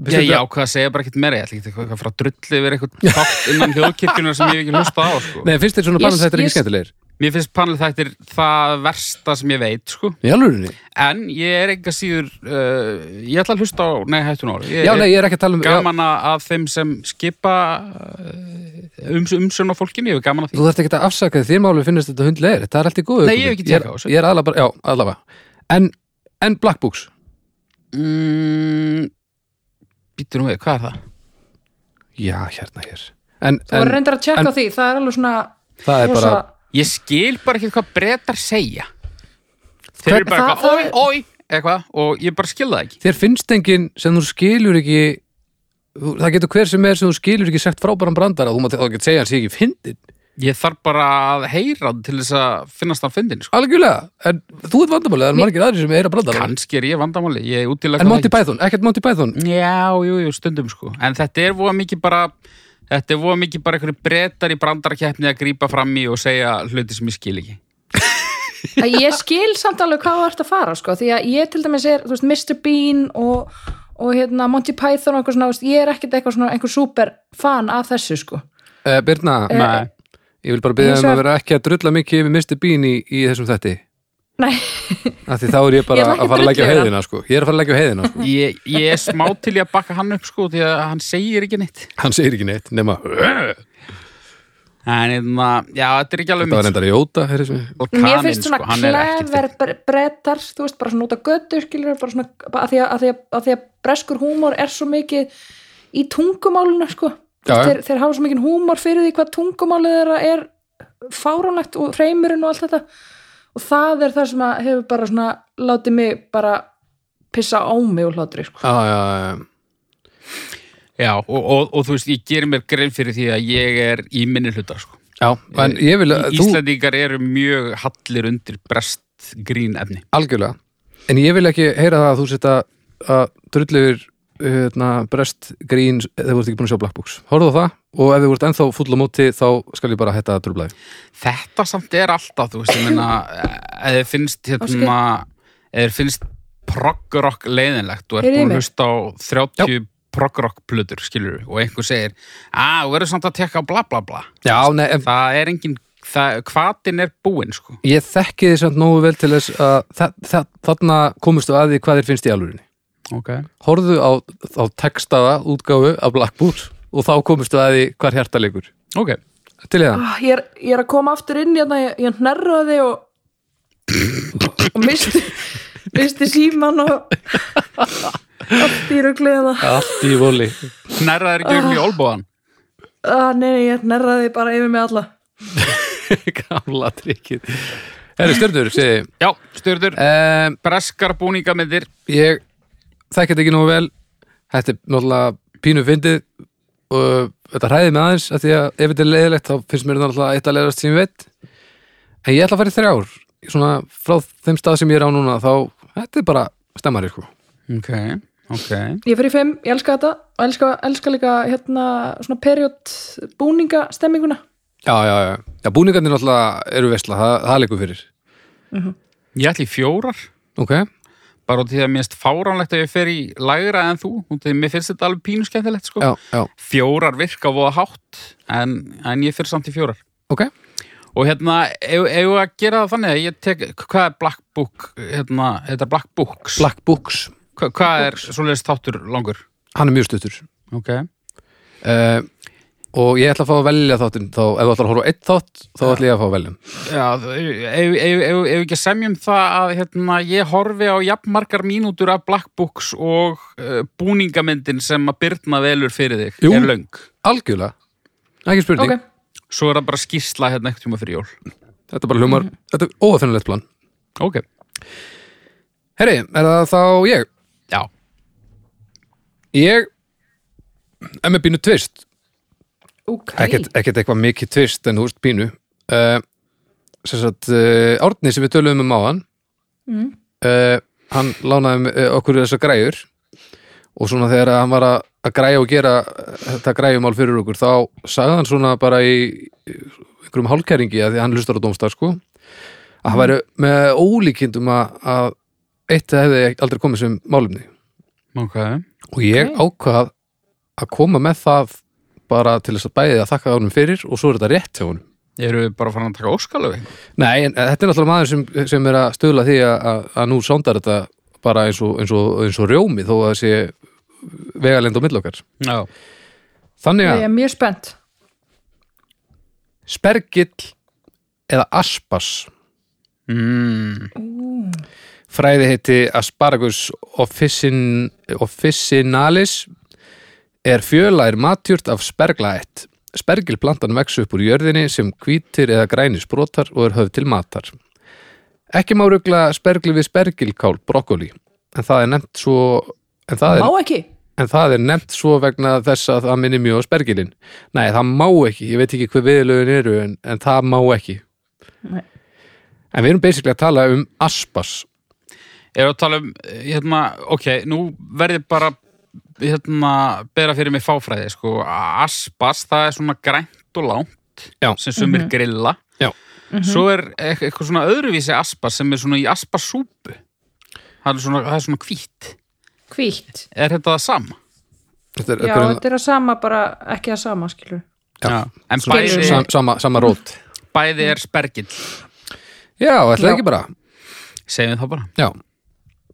A: já, já, hvað að segja bara ekkit meira ég ætla ekki eitthvað að fara að drulli yfir eitthvað þátt innan hljóðkirkjunar sem ég hef ekki hlusta á sko.
B: Nei, finnst þér svona
C: Ég-
B: panel þættir
C: ég-
B: ekki skemmtilegir?
A: mér finnst panel þættir það versta sem ég veit sko.
B: Í alvörinni?
A: en ég er enga síður uh, ég ætla að hlusta á, nei hættu nú
B: Já, nei, ég er ekki að tala um já,
A: Eh, gaman að að þeim sem skipa uh, um, umsjón á fólkinu, ég er gaman að því
B: Þú þarft ekki að afsaka því þér máli finnast þetta hundlegir Það er allt í góðu
A: Nei, ég hef
B: augnablik.
A: ekki
B: Ég er-
A: tekað á þessu.
B: Ég er alveg bara, já, allavega En, en Black Books
A: Mm, Býttu nú við, hvað er það?
B: Já, hérna hér En,
C: þú verður
B: en
C: reyndar að tjekka
B: en-
C: á því það er alveg svona
B: það er bara
C: rosa-
A: Ég skil bara ekki hvað brettar segja Þeir
B: Hvern-
A: eru bara
C: Það- það-
A: eitthvað, oi, oi eitthvað, og ég bara skil það ekki
B: þér finnst enginn sem þú skilur ekki þú- það getur hver sem er sem þú skilur ekki sagt frábæran brandara og þú maður þá getur segja hann sé ekki fyndin
A: Ég þarf bara að heyra hann til þess að finnast hann fyndin sko.
B: algjörlega, en þú ert vandamálið það eru margir aðrir sem heyra brandara
A: Kanski er ég vandamáli, ég útilega
B: en Monty Python, ekkert Monty Python
A: Já, jú, jú, stundum sko En þetta er voða mikið bara Þetta er voða mikið bara einhverju brettar í brandarkeppni að grípa fram í og segja hluti sem ég skil ekki
C: Eh. að ég skil samt alveg hvað þú ert að fara sko, því að ég til dæmis er, þú veist, Mr. Bean og, og hérna Monty Python og eitthvað svona, þú veist, ég er ekkert eitthvað svona einhver super fan af þessu sko
B: uh, Birna,
A: Nei,
B: ég vil bara byrja
C: Hins
B: um
C: vegar-
B: að vera ekki að drulla mikið yfir Mr. Bean í, í þessum þetti
C: nei,
B: af því þá er (laughs) ég bara
C: Ég ætla ekki
B: að fara að leggja á
C: að drulla yfir
B: heiðina sko. ég er að fara að leggja á heiðina sko.
A: ég, ég er smá til ég að bakka hann upp sko því að hann segir ekki neitt
B: hann segir ekki neitt, nema "Öh, þetta
A: En hérna, já, þetta er ekki alveg
B: var
A: mitt
B: reyndar Jóta heyrðu sem-
A: Og
C: mér
A: kaninn,
C: finnst svona
A: sko, hann er ekkert
C: klever bre- brettar, þú veist, bara svona út á götu skilur, bara svona, bara að því að, að, því að, að því að breskur húmor er svo mikið í tungumálinu sko
B: Já,
C: Þú veist,
B: já.
C: þeir, þeir hafa svo mikið húmor fyrir því hvað tungumálið þeirra er fáránlegt og hreimurinn og allt þetta og það er það sem að hefur bara svona látið mig bara pissa á mig og hlátri sko.
B: Já, já, já, já.
A: Já, og, og, og þú veist, ég gerir mér grein fyrir því að ég er í minni hluta sko.
B: Já, en ég vil að Eh, þú
A: Íslandingar eru mjög hallir undir brest grín efni.
B: algjörlega En ég vil ekki heyra það að þú setja að drullu yfir hérna, brest grín þegar þú ert ekki búin að sjá Black Books Horfðu á það og ef þú ert ennþá full á móti þá skal ég bara hætta að drubla þig
A: Þetta samt er alltaf, þú veist, ég meina, eða finnst hérna, eða finnst proggrokk leiðinlegt, þú ert
C: Heyrðu í
A: búin að
C: mér?
A: hlusta á 30 proggrokk plötur, skilur og einhver segir, að, þú verður samt að tekka bla bla bla.
B: Já, nei, en
A: Það er engin, það, hvatin er búinn, sko.
B: ég þekki þið samt nógu vel til þess að þa- þa- þarna komustu að því hvað þér finnst í alvörinni
A: Ok.
B: Horfðu á, á textaða útgáfu af Black Books og þá komustu að því hvar hjarta leikur
A: Ok.
B: Til ég það?
C: Ah, ég, er, ég er að koma aftur inn hérna, ég, ég hnerraði og og misti misti síman og allt í ruggliðina
B: Allt í voli
A: Nærðar ekki um í olbóðan.
C: ah, nei, nei, ég hnerraði bara yfir mig alla
B: (laughs) Gamla trikkið Herri, stjörnur, segi
A: Já, styrður,
B: um,
A: breskar búningamyndir.
B: Ég þekki þetta ekki nógu vel Þetta er náttúrulega pínu fyndið og þetta hræði með aðeins af því að ef þetta er leiðilegt þá finnst mér þetta náttúrulega eitt að leiðast sem ég veit En ég ætla að fara í þrjár svona frá þeim stað sem ég er á núna þá þetta er bara stemmari sko
A: Ok, ok.
C: ég fyrir í fimm, ég elska þetta og elska, elska líka hérna svona period búninga stemminguna
B: Já, já, já, já búningarnir náttúrulega eru vesla, það, það leikur fyrir
A: Ég ætli í fjórar.
B: Ok,
A: bara út í því að mér finnst fáránlegt að ég fer í lægra en þú, út í því að mér finnst þetta alveg pínu skemmtilegt sko.
B: já, já,
A: Fjórar virka voða hátt, en, en ég fer samt í fjórar.
B: ok
A: Og hérna, ef ef við að gera það þannig að ég tek, hvað er Black Book, hérna, þetta er Black Books,
B: Black Books,
A: Hva, hvað er svoleiðis þáttur langur?
B: hann er mjög stuttur
A: Ok,
B: uh, og ég ætla að fá að velja þáttinn þá, ef þú ætlar að horfa á eitt þátt þá ætla ég að fá að velja hann.
A: já, ef ef- ef- ef- ef við ekki semjum það að hérna, ég horfi á jafnmargar mínútur af Black Books og uh, búningamyndin sem að Byrna velur fyrir þig,
B: Jú.
A: er löng.
B: algjörlega, ekki spurning
C: ok,
A: Svo er það bara skýrsla hérna ekkert tíma fyrir jól.
B: þetta er bara hljómar, þetta er óafinnilegt plan
A: Ok.
B: herri, er það þá ég
A: Já,
B: ég er með bínu tvist
C: ok
B: ekkert, ekkert eitthvað mikið tvist en þú veist bínu uh, sem sagt, uh, Árni sem við töluðum um áðan
C: Mm.
B: uh, hann lánaði uh, okkur þessar græjur og svona þegar hann var að, að græja og gera eh, þetta græjumál fyrir okkur þá sagði hann svona bara í í einhverjum hálkæringi að því að hann hlustar á dómstað sko að
C: Mm.
B: hann væri með ólíkindum að, að eitt hefði aldrei komið sem málumni
A: ok.
B: og ég ákvað að koma með það bara til þess að bæði að þakka honum fyrir og svo er þetta rétt hjá honum
A: Eru við bara farin að taka óskalöfi?
B: Nei, en eh, þetta er náttúrulega maður sem, sem er að stöðla því að, að, að nú sándar þetta bara eins og, eins og, eins og rjómi þó að það sé vegalend á milli okkar
A: Já.
B: Þannig
C: ég
B: að
C: er mjög spennt
B: spergill eða aspas
A: Mm.
B: fræði heiti asparagus officin, officinalis er fjölær matjúrt af sperglaætt. Spergilplantan vex upp úr jörðinni sem hvítir eða grænir sprotar og er höfð til matar. Ekki má rugla spergil við spergilkál brokkoli, en það er nefnt svo en það er,
C: má ekki
B: en það er nefnt svo vegna þess að það minni mjög á spergilin. Nei, það má ekki, ég veit ekki hvað viðlögin eru en, en það má ekki.
C: Nei.
B: En við erum basically að tala um aspas.
A: Ef við tala um, eh, hérna, ok, nú verði bara, hérna, bera fyrir mig fáfræði, sko. Aspas, það er svona grænt og langt
B: Já.
A: sem sumir grilla.
B: Já.
A: Svo er eit- eitthvað svona öðruvísi aspas sem er svona í aspasúpu. Það er svona, það er svona hvít.
C: hvítt
A: Er þetta það sama?
B: Þetta er,
C: já,
B: þetta er-
C: þetta er að sama bara, ekki að sama skilur
B: Já.
A: En
C: Skilur
A: bæði,
B: Sam, sama, sama rót
A: bæði er spergill,
B: Já, ætlaði
C: Já.
B: ekki bara
A: segjum við það bara.
B: Já,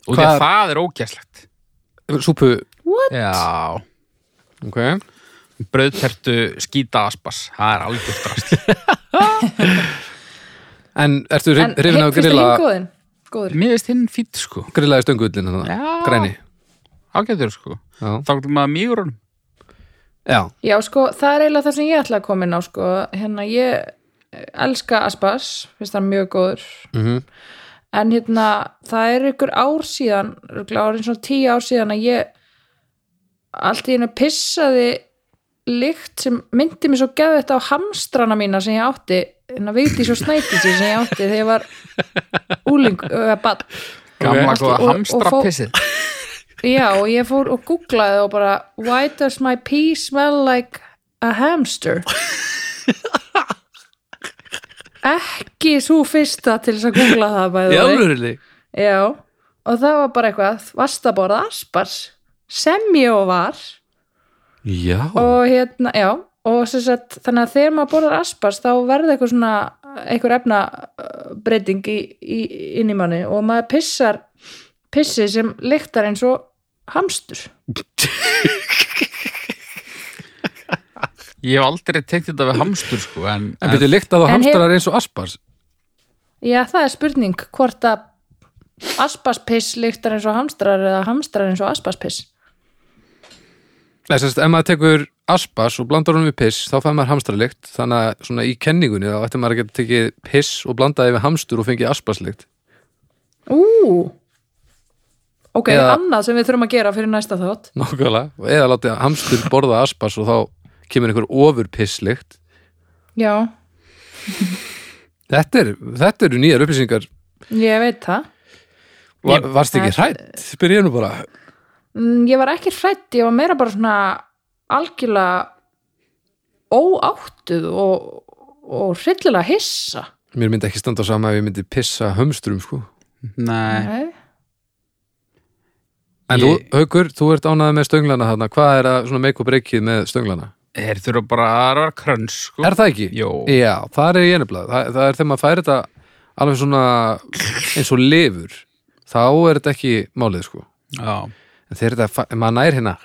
A: Og því
B: Hvað-
A: að það er ógæslegt.
B: súpu
C: what?
A: Já.
B: Ok
A: brauðtertu skýta aspas það er algjör drast
B: En ertu hrif-
C: en
B: hrifin
C: hi-
B: af að
C: finnst þér
B: grilla
C: hinn góðin? góður
A: mér veist hinn fýtt sko
B: grilla í stöngullin hana,
A: Já.
B: græni
A: ágættur sko
B: Já,
A: þá getur maður mýgur honum
B: já,
C: Já, sko, það er eiginlega það sem ég ætla að koma inn á, sko. Hérna, ég elska Aspas, finnst það mjög góður.
B: mhm,
C: En hérna, það er ykkur ár síðan, ykkur árið svona tíu ár síðan að ég allt í hennu pissaði lykt sem myndi mér svo geðu þetta á hamstrana mína sem ég átti hérna, en að veiti svo snætið sem ég átti þegar ég var úling eða bad
A: Gamla
C: Ok.
A: góða
C: Og- og fó-
A: hamstrapissið.
C: já og ég fór og googlaði og bara why does my pee smell like a hamster ekki svo fyrsta til þess að googla það bæði
B: Í alvörinni
C: Já, og það var bara eitthvað varst að borða aspars sem ég var
B: Já,
C: og hérna, já og sem sagt, þannig að þegar maður borðar aspars þá verður eitthvað svona eitthvað efnabreyting í, í, inn í manni og maður pissar pissi sem lyktar eins og hamstur
A: Ég hef aldrei tekt þetta við hamstur, sko, en,
B: en byrju líkt að
C: En
B: það hamstrar eins og aspars
C: Já, það er spurning hvort að asparspiss lyktar eins og hamstrar eða hamstrar eins og asparspiss
B: Nei, sem sagt, ef maður tekur aspars og blandar honum við piss þá fær maður hamstrarlykt þannig að svona í kenningunni þá ætti maður að geta tekið piss og blandaði við hamstur og fengið asparslykt
C: Ú Ok,
B: Eða-
C: annað sem við þurfum að gera fyrir næsta þátt
B: Nákvæmlega, eða látið hamstur borða aspars og þá kemur einhver ofur pisslykt
C: Já, Þetta
B: þetta, er, þetta eru nýjar upplýsingar
C: Ég veit það.
B: Var, Varst ekki hrætt? Spyr ég nú bara
C: Mm, Ég var ekki hrætt, ég var meira bara svona algjörlega óáttuð og, og hryllilega hissa.
B: Mér myndi ekki standa á sama ef ég myndi pissa hömstrum sko.
A: nei,
C: Nei.
B: En
A: Ég-
B: þú, Haukur, þú ert ánæði með stönglana þarna Hvað er að svona make og breykið með stönglana?
A: þeir þurfa bara að vera kröns, sko.
B: Er það ekki?
A: Jó.
B: Já, það er ég nefnilega það, það er þegar maður færi þetta alveg svona eins og lifur þá er þetta ekki málið sko
A: Já,
B: en þegar þetta, fa- ef maður nær hérna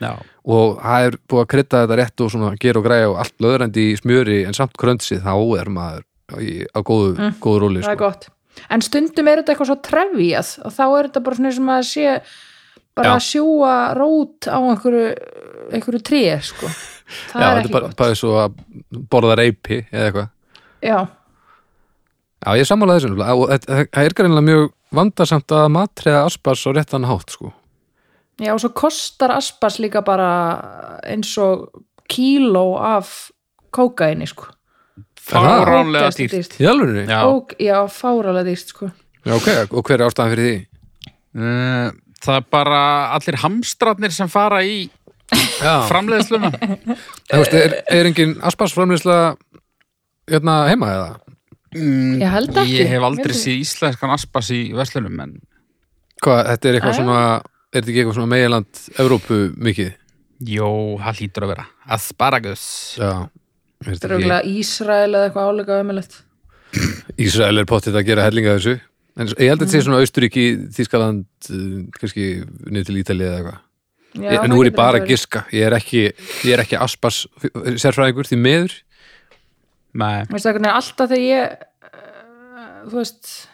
A: já.
B: og það er búið að krydda þetta rétt og svona gera og græja og allt löðrandi í smjöri en samt krönsi þá er maður í, á góðu, mm. góðu róli
C: Það er
B: sko.
C: gott. En stundum er þetta eitthvað svo trefjað og þá er þetta bara svona sem að sé bara
B: Já.
C: að sjúa rót á einhverju, einhverju tríi,
B: (laughs)
C: sko. Það
B: Já,
C: er
B: þetta
C: ekki
B: er bara,
C: gott.
B: bara svo að borða reypi eða eitthvað
C: Já,
B: Já, ég sammála þessu nefnilega og þetta- það- það er greinlega mjög vandarsamt að matriða aspars á réttan hátt sko.
C: já, og svo kostar aspas líka bara eins og kíló af kókaini, sko.
B: Ah.
A: Fáránlega
C: Ógeðslega
A: dýrt.
B: Í alveg
A: Já.
C: Ó, já, fáralega dýrt sko.
B: Já, ok, og hver er ástæðan fyrir því?
A: Eh, Það er bara allir hamstrarnir sem fara í
B: Já,
A: framleiðsluna.
B: En Þú veist, er, er engin asparsframlýsla hérna heima eða?
A: Mm,
C: Ég (laughs) held ekki.
A: Ég hef aldrei
C: Mér-
A: séð íslenskan aspas í verslunum, en
B: Hvað, þetta er eitthvað
C: Æ.
B: svona, er þetta ekki eitthvað svona meginland Evrópu mikið?
A: Jó, það hlýtur að vera Asparagus
B: Já, er
C: Þetta
B: þetta
C: er
B: ekki?
C: auðvitað Ísrael eða eitthvað álega ömulegt.
B: Ísrael er pottið að gera hellinga þessu. En ég held að
C: Mm.
B: þetta sé svona Austuríki, Þískaland, eh, kannski niður til Ítalið eða eitthvað.
C: Já,
B: En Eh, nú er ég bara að giska, ég er ekki, ég er ekki aspars sérfræðingur því meður.
A: Nei,
C: Veistu það hvernig alltaf þegar ég, uh, þú veist,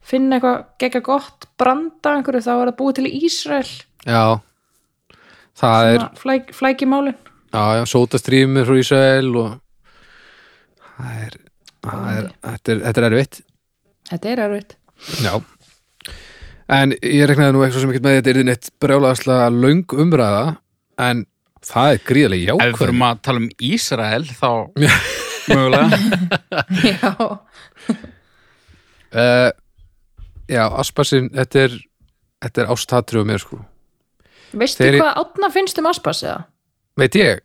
C: finn eitthvað gegga gott, branda einhverju, þá er það búið til í Ísrael,
B: Já, það er,
C: svona flæk, flækimálin.
B: já, já, sótastrýmur frá Ísrael og það er, það er, þetta er, þetta er erfitt.
C: Þetta er erfitt.
B: Já En ég reknaði nú eitthvað sem ekkert með þetta er því neitt brjálaðaslega löng umræða en það er gríðarlega
A: ef við
B: jákvæð
A: fyrir að tala um Ísrael þá mögulega
B: (laughs)
C: (laughs) Já,
B: uh, Já, Aspasin, þetta er þetta er ástatri og mér sko
C: veistu
B: Þegar ég-
C: hvað átna finnst um Aspas eða?
B: Veit ég?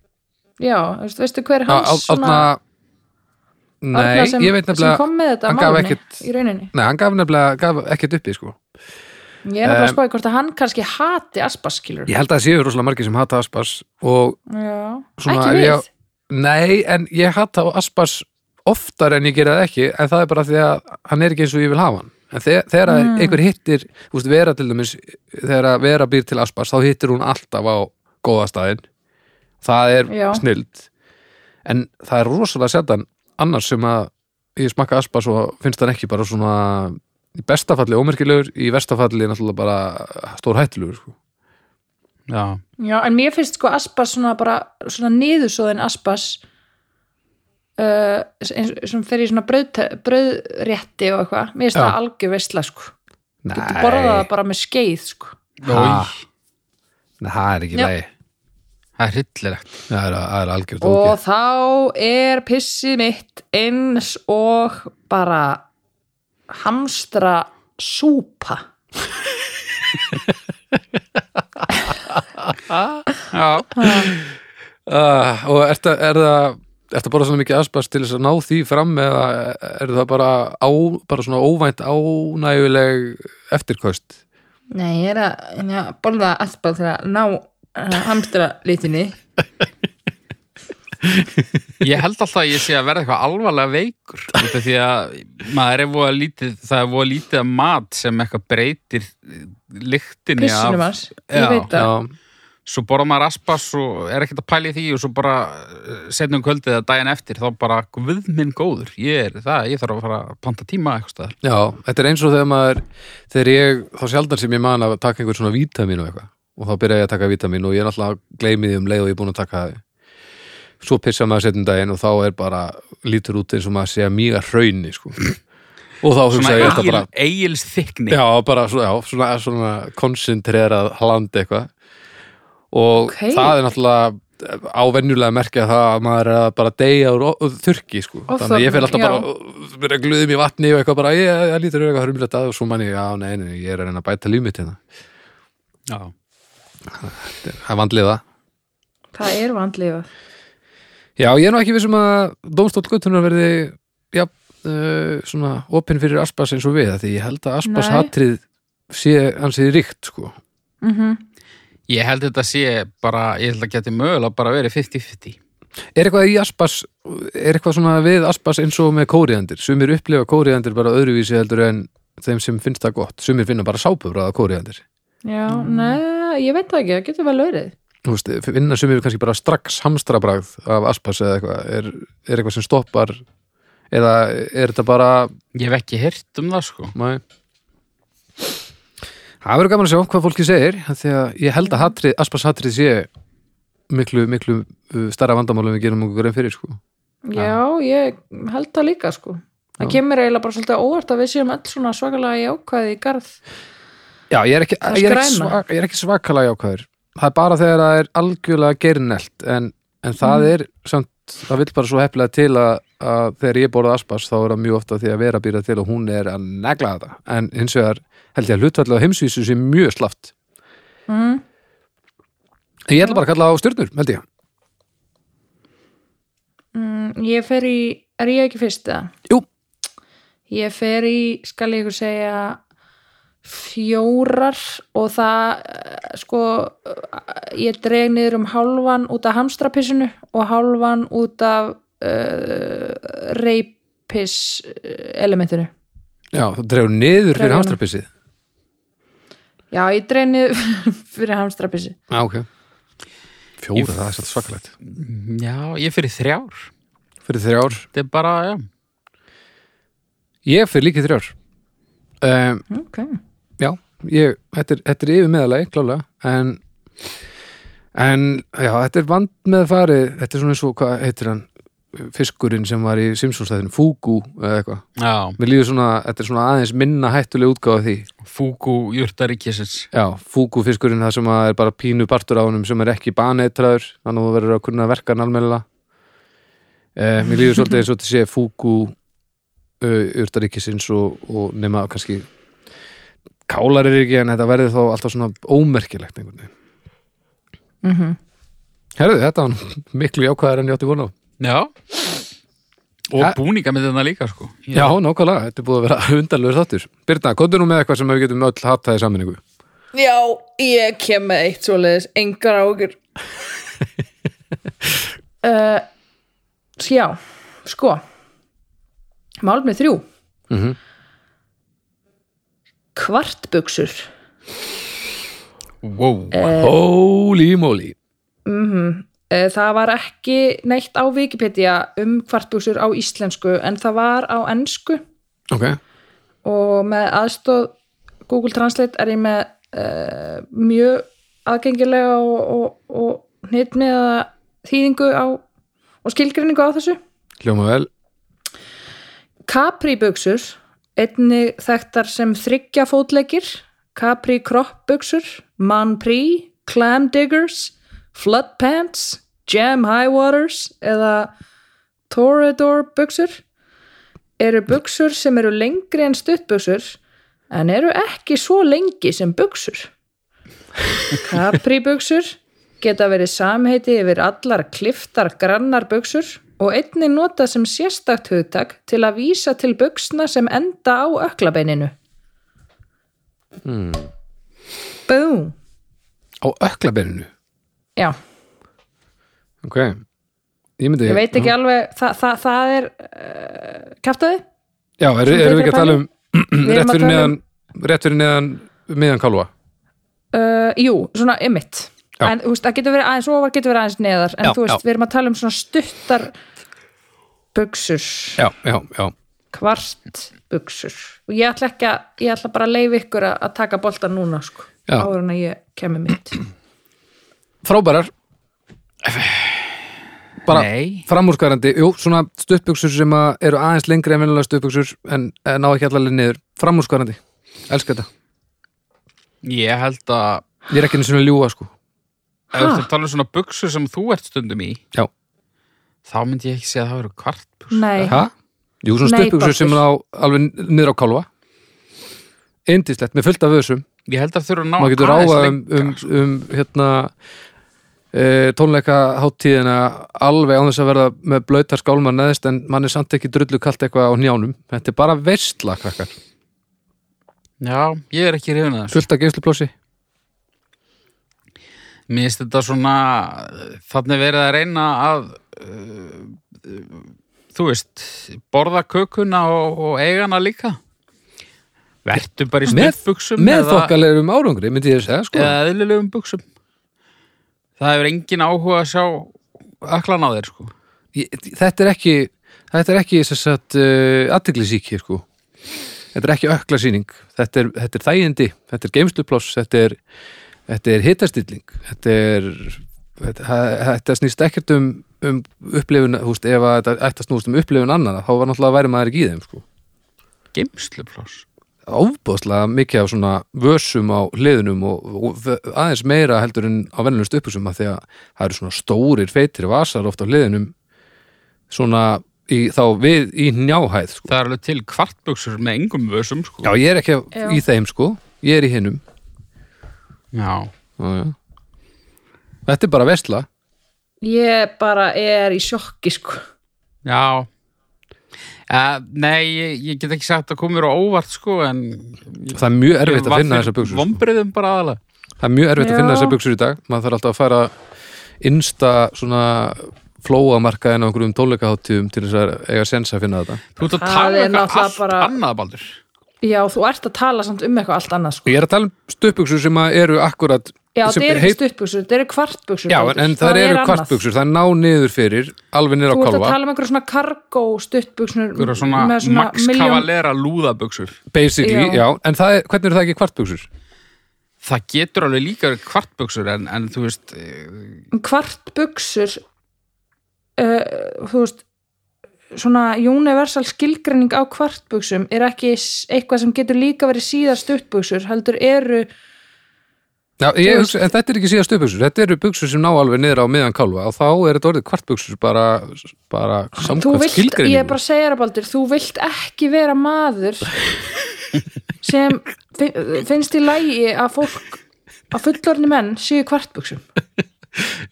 C: Já, veistu, veistu hver
B: Á-
C: hans
B: á-
C: svona...
B: Árna- Nei,
C: Árna sem,
B: ég veit
C: sem
B: nefnilega
C: kom með þetta
B: hann gaf
C: málunni
B: ekkert-
C: í rauninni.
B: Nei, hann gaf nefnilega gaf ekkert uppi sko
C: Ég er bara
B: Em,
C: að spáði hvort að hann kannski hati Aspas, skilur.
B: Ég held að það séu rosalega margir sem hata Aspas og
C: Já,
B: svona
C: ekki
B: er
C: við.
B: ég- Nei, en ég hata Aspas oftar en ég gera það ekki en það er bara því að hann er ekki eins og ég vil hafa hann en þegar, þegar mm. einhver hittir þú veist, vera til dæmis, þegar að vera býr til Aspas þá hittir hún alltaf á góða staðinn það er
C: Já.
B: snild en það er rosalega sjaldan annars sem að ég smakka Aspas og finnst hann ekki bara svona í bestafalli ómerkilegur, í verstafalli náttúrulega bara stór hættulegur sko.
A: Já,
C: Já, en mér finnst sko aspas svona bara svona niðursóðin aspas uh, eins, sem fer í svona brauð, brauðrétti og eitthvað mér finnst
B: Já.
C: það algjör veistla sko
B: Nei,
C: þú borðað það bara með skeið sko
A: Oj.
B: Nei, það er ekki
C: Já.
B: leið
A: það er hryllilegt
B: það er, það er algjörð
C: Og þá er pissið mitt eins og bara hamstra súpa.
A: Já,
B: Uh, og er það, er það Er það bara svona mikið aðspast til þess að ná því fram eða er það bara, á, bara svona óvænt ánæguleg eftirkost?
C: Nei, ég er að, ég er að borða alltaf til að ná eh, hamstra litinni.
A: ég held alltaf að ég sé að verða eitthvað alvarlega veikur út af því að maður er voða lítið, það er voða lítið að mat sem eitthvað breytir lyktinni
C: Pissunum
A: af,
C: hans, ég
A: Já,
C: veit það.
B: Já,
A: svo borða maður aspas og er ekkert að pæla í því og svo bara setnum kvöldið að daginn eftir þá bara guð minn góður, ég er það, ég þarf að fara að panta tíma eitthvað staðar.
B: já, þetta er eins og þegar maður þegar ég, þá sjaldan sem ég man að taka einhver svona vítamin og eitthvað og þá byrja ég að taka vítamin og ég er alltaf gleymið um leið og ég er búin að taka það svo pissa maður setjum daginn og þá er bara lítur út eins og maður sé að mýga hrauni sko. og þá hugsa ég þetta
A: Svona
B: bara
A: eigil, eigils þykni
B: Já, bara svona, já, svona, svona koncentrerað hland eitthvað og
C: Ókei.
B: það er náttúrulega ávenjulega að merkja það að maður er að bara deyja úr ó- þurrki sko.
C: Ofþornun,
B: þannig að ég fyrir alltaf
C: já.
B: bara og byrja að gluðum í vatni og eitthvað bara ég, ég, ég lítur eitthvað hörmilegt að um og svo manni, já nei, nei, ég er að reyna að bæta líf mitt hérna
A: Já.
B: það er vandlið það
C: Það er vandlifað.
B: Já, ég er nú ekki vissum að Dómstóll Guttunar verði já, uh, svona opinn fyrir Aspas eins og við, af því ég held að Aspas
C: Nei.
B: hatrið sé ansið ríkt sko.
C: Mm
A: Ég held þetta sé bara, ég held að geti mögulega bara verið 50-50
B: Er eitthvað í Aspas, er eitthvað svona við Aspas eins og með kóriðandir? Sumir upplifa kóriðandir bara öðruvísi heldur en þeim sem finnst það gott. Sumir finna bara sápubræða kóriðandir.
C: Já, neða, ég veit það ekki, það getur vel verið.
B: Þú veist, finna sumir kannski bara strax hamstrabræð af Aspas eða eitthvað. Er, er eitthvað sem stoppar eða er þetta bara,
A: Ég hef ekki heyrt um það sko
B: mæ? Það verður gaman að sjá hvað fólki segir, af því að ég held að hatrið, Aspas hatrið sé miklu, miklu uh, stærra vandamálum við gerum okkur enn fyrir, sko.
C: Já, ég held það líka sko. Það kemur eiginlega bara svolítið á óvart að við séum öll svona svakalega jákvæði í garð.
B: Já, ég er ekki,
C: Það er
B: ég er ekki,
C: skræna.
B: svak, ég er ekki svakalega jákvæður. Það er bara þegar það er algjörlega gerinelt en, en það er samt, það vill bara svo hefnilega til að, að þegar ég borða aspas þá er það mjög ofta því að vera býra til og hún er að negla þetta. En hins vegar held ég að hlutfallið á heimsvísu sé mjög slaft.
C: Mm.
B: Ég ætla bara að kalla á stjörnur, held ég.
C: Mm, ég fer í, er ég ekki fyrst það?
B: Jú.
C: Ég fer í, skal ég ykkur segja, fjórar og það, eh, sko, eh, ég dreg niður um hálfan út af hamstrapissinu og hálfan út af uh, reypiss eh, elementinu.
B: Já, þú drefur niður
C: Dreg
B: fyrir
C: hana.
B: hamstrapissið.
C: Já, ég dreg niður (laughs) fyrir hamstrapissi.
B: Já, ok. Fjóra,
A: Ég-
B: það er satt svakalegt.
A: Já, ég fyrir þrjár
B: Fyrir þrjár.
A: Þetta er bara, já
B: Ég fyrir líki þrjár. Um,
C: Ok.
B: Já, ég, þetta, er, þetta er yfir meðalagi, klálega en, en já, þetta er vand með farið þetta er svona eins og, hvað heitir hann fiskurinn sem var í Simpsons-stæðinu Fugu eða eitthvað,
A: Já,
B: mér líður svona þetta er svona aðeins minna hættuleg útgáfa af því
A: fúku jurtaríkisins
B: já, Fugu fiskurinn það sem að er bara pínu partur á honum sem er ekki baneitraður þannig að þú verður að kunna verka hann almennilega eh, mér líður svolítið eins og þetta sé Fugu uh, urtaríkisins og, og nema kannski kálar er ekki en þetta verður þá alltaf svona ómerkilegt einhvern veginn
C: Mm
B: Herðu, þetta var nú miklu jákvæðar en ég átti vona á.
A: Já Og
B: Ha-
A: búninga með þetta líka sko Ég-
B: Já, nákvæmlega, þetta er búið að vera undarlegur þáttur. Birna, kontur nú með eitthvað sem við getum öll hattað í sammenningu.
C: Já, ég kem með eitt svoleiðis, engar á okkur. (laughs) uh, já, sko, málmið þrjú,
B: Mm
C: kvartbuksur.
A: Wow,
B: Holy moly.
C: Uh, það var ekki neitt á Wikipedia um kvartbuksur á íslensku, en það var á ennsku
B: Ok,
C: og með aðstóð Google Translate er ég með uh, mjög aðgengilega og, og, og hnitmiða þýðingu á, og skilgreiningu á þessu.
B: hljóma vel.
C: Capri-buksur, einnig þekktar sem þryggja fótleggir, Capri-kroppbuksur, Man-Pri, Clam Diggers, flood pants, jam high waters eða torridor buksur eru buksur sem eru lengri en stuttbuksur en eru ekki svo lengi sem buksur. Capri buksur geta verið samheiti yfir allar kliftar grannar buksur og einnig nota sem sérstakt hugtak til að vísa til buksna sem enda á öklabeininu. Hmm. Boom.
B: á öklaberinu
C: Já,
B: ok ég, myndi,
C: ég veit ekki alveg, það, það, það er uh,
B: (clears throat)
C: kæftaði?
B: já, er, erum við ekki að tala um
C: Við erum
B: rétt
C: að
B: fyrir
C: tala um,
B: neðan rétt fyrir neðan miðan kálva
C: Uh, jú, svona ymmit.
B: Já.
C: En þú veist, það getur verið aðeins ofar, getur verið aðeins neðar. En
B: Já,
C: þú veist,
B: já.
C: við erum að tala um svona stuttar buksur,
B: já, já, já,
C: kvart buksur. Og ég ætla ekki að, ég ætla bara að leifa ykkur að, að taka boltan núna, sko.
B: Já.
C: Áður en að ég kemur mitt.
B: (clears throat) frábærar bara
A: Nei.
B: framúrskarandi jú, svona stuttbuksur sem að eru aðeins lengri en vinnulega stuttbuksur en, en ná ekki allarlega niður framúrskarandi, elska þetta
A: Ég held að
B: ég er ekki einu svona ljúa sko
A: ef þú ert að tala um svona buksur sem þú ert stundum í
B: já,
A: þá myndi ég ekki segja að það eru kvartbuksur
C: Nei,
B: hæ? jú, svona
C: Nei,
B: stuttbuksur sem
C: Baldur.
B: ná alveg niður á kálva indislegt, með fullt af öðsum
A: Ég held að þurfa að ná
B: maður getur
A: aðeins
B: ráða um, um,
A: lengra. sko.
B: um hérna e, tónleika háttíðina alveg án þess að verða með blöytar skálmar neðist en mann er samt ekki drullu kalt eitthvað á njánum þetta er bara veistla krakkar
A: Já, ég er ekki reyfin að þessu
B: fullt af geimsluplósi
A: Mér finnst þetta svona þannig verið að reyna að uh, þú veist, borða kökuna og, og eigana líka Vertu bara í
B: Með-
A: stuttbuksum
B: með þokkalegum árangri myndi ég segja sko
A: eða eðlilegum buksum Það hefur engin áhuga að sjá öklan á þér sko
B: ég, þetta er ekki þetta er ekki þess að uh, aðteglisíki sko þetta er ekki ökla síning þetta er, þetta er þægindi, þetta er geimsluploss þetta er, þetta er hitastilling þetta er þetta, þa- þetta snýst ekkert um, um upplifun, þú veist, ef að þetta ætti að snúst um upplifun annara, þá var náttúrulega að væri maður ekki í þeim sko,
A: Geimsluploss
B: ofbóðslega mikið af svona vössum á hliðunum og, og v- aðeins meira heldur en á venjulegum stuppusum að því að það eru svona stórir feitir vasar oft á hliðunum svona í, þá við í njáhæð sko.
A: Það er alveg til kvartbuksur með engum vössum sko
B: Já, ég er ekki
C: Já.
B: í þeim sko ég er í hinnum
A: Já.
B: Þetta er bara vesla
C: ég bara er í sjokki, sko.
A: Já uh, Nei, ég, ég get ekki sagt að koma mér á óvart sko en ég,
B: Það er mjög erfitt
A: ég
B: að
A: var
B: finna
A: fyrir
B: þessar buksur sko.
A: Vombriðum bara aðalega
B: Það er mjög erfitt að
C: Já.
B: finna þessar buksur í dag maður þarf alltaf að fara innsta svona flóamarka en á einhverjum tólekaháttíðum til þess að eiga sens að finna þetta
A: Þú ert að
C: Það
A: tala
C: er
A: um eitthvað
C: náttúrulega
A: allt
C: bara-
A: annað baldur
C: Já, þú ert að tala samt um eitthvað allt annað, sko.
B: Ég er að tala um stuttbuksur sem að eru akkurat
C: Já,
B: sem
C: það eru ekki
B: heit-
C: stuttbuksur, það eru kvartbuksur.
B: Já,
C: Baldur.
B: en, en það eru
C: annað.
B: kvartbuksur, það er ná niður fyrir alveg niður á
C: Þú ert að
B: kolva,
C: tala um einhverja svona kargó stuttbuksur
A: Þú svona,
C: með
A: svona Max
C: milljón-
A: Cavalera lúðabuksur
B: basically,
C: Já.
B: já, en það er, hvernig eru það ekki kvartbuksur?
A: Það getur alveg líka verið kvartbuksur en, en þú veist eh,
C: kvartbuksur uh, þú veist svona universal skilgreining á kvartbuksum er ekki s- eitthvað sem getur líka verið síðar stuttbuksur heldur eru
B: Já, ég,
C: Þú
B: hugsa- en þetta er ekki síðast uppbuksur, þetta eru buksur sem ná alveg niður á miðan kolva og þá er þetta orðið kvartbuksur bara, bara
C: þú
B: samkvæmt
C: vilt, ég er
B: Um
C: bara
B: skilgreiningu.
C: að segja þér Baldur þú vilt ekki vera maður sem fi- finnst í lægi að fólk að fullorni menn séu í kvartbuksum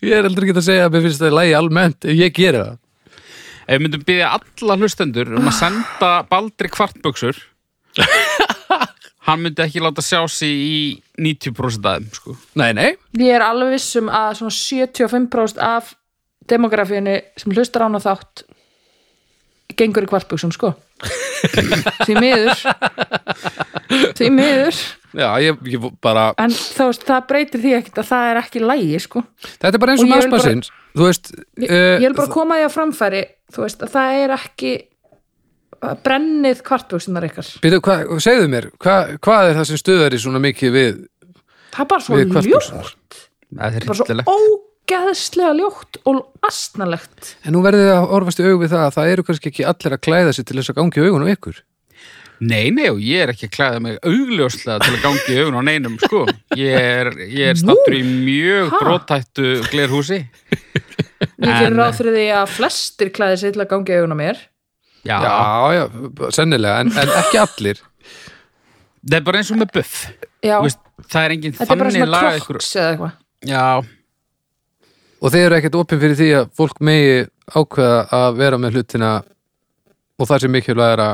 B: Ég er heldur ekki að segja að mér finnst það í lægi almennt, ég gera það.
A: Ef við myndum byggja alla hlustendur um að senda baldri
C: (laughs)
A: kvartbuksur Hann myndi ekki láta sjá sig í 90% aðeim sko
B: Nei, nei,
C: ég er alveg viss um að svona 75% af demografíunni sem hlustar án á þátt gengur í kvartbuksum sko því miður því miður
B: já, ég, ég bara,
C: en þá veist það breytir því ekkert að það er ekki lægi sko
B: þetta er bara eins og
C: Og ég vil bara-
B: maspasins, þú veist,
C: ég,
B: eh,
C: ég er bara að koma því á framfæri þú veist að það er ekki að brennið kvartbuksunar ykkar
B: Býtu, hva, segðu mér, hva, hvað er það sem stuðar í svona mikið við,
C: það er bara svo
B: við
C: ljótt
B: kvartbuxurnar?
A: Það er
C: bara svo
A: hittilegt
C: ógeðslega ljótt og astnalegt
B: En nú verðið þið að orfast í augum við það að það eru kannski ekki allir að klæða sér til þess að gangi augun á ykkur.
A: Nei, nei, og ég er ekki að klæða mig augljóslega til að gangi augun á neinum, sko. Ég er, ég er stattur í mjög
C: ha?
A: brotættu glerhúsi.
C: Ég
A: En-
C: gerir ráð fyrir því að flestir klæði sér til að gangi augun á mér.
A: Já,
B: Já, já, sennilega, en, en ekki allir
A: það er bara eins og með buff.
C: Já,
A: Þú Veist, það er engin
C: þetta er bara
A: þannig
C: svona
A: laga ykkur.
C: kroks eða eitthvað.
A: Já,
B: Og þeir eru ekkert opin fyrir því að fólk megi ákveða að vera með hlutina og það sem mikilvægara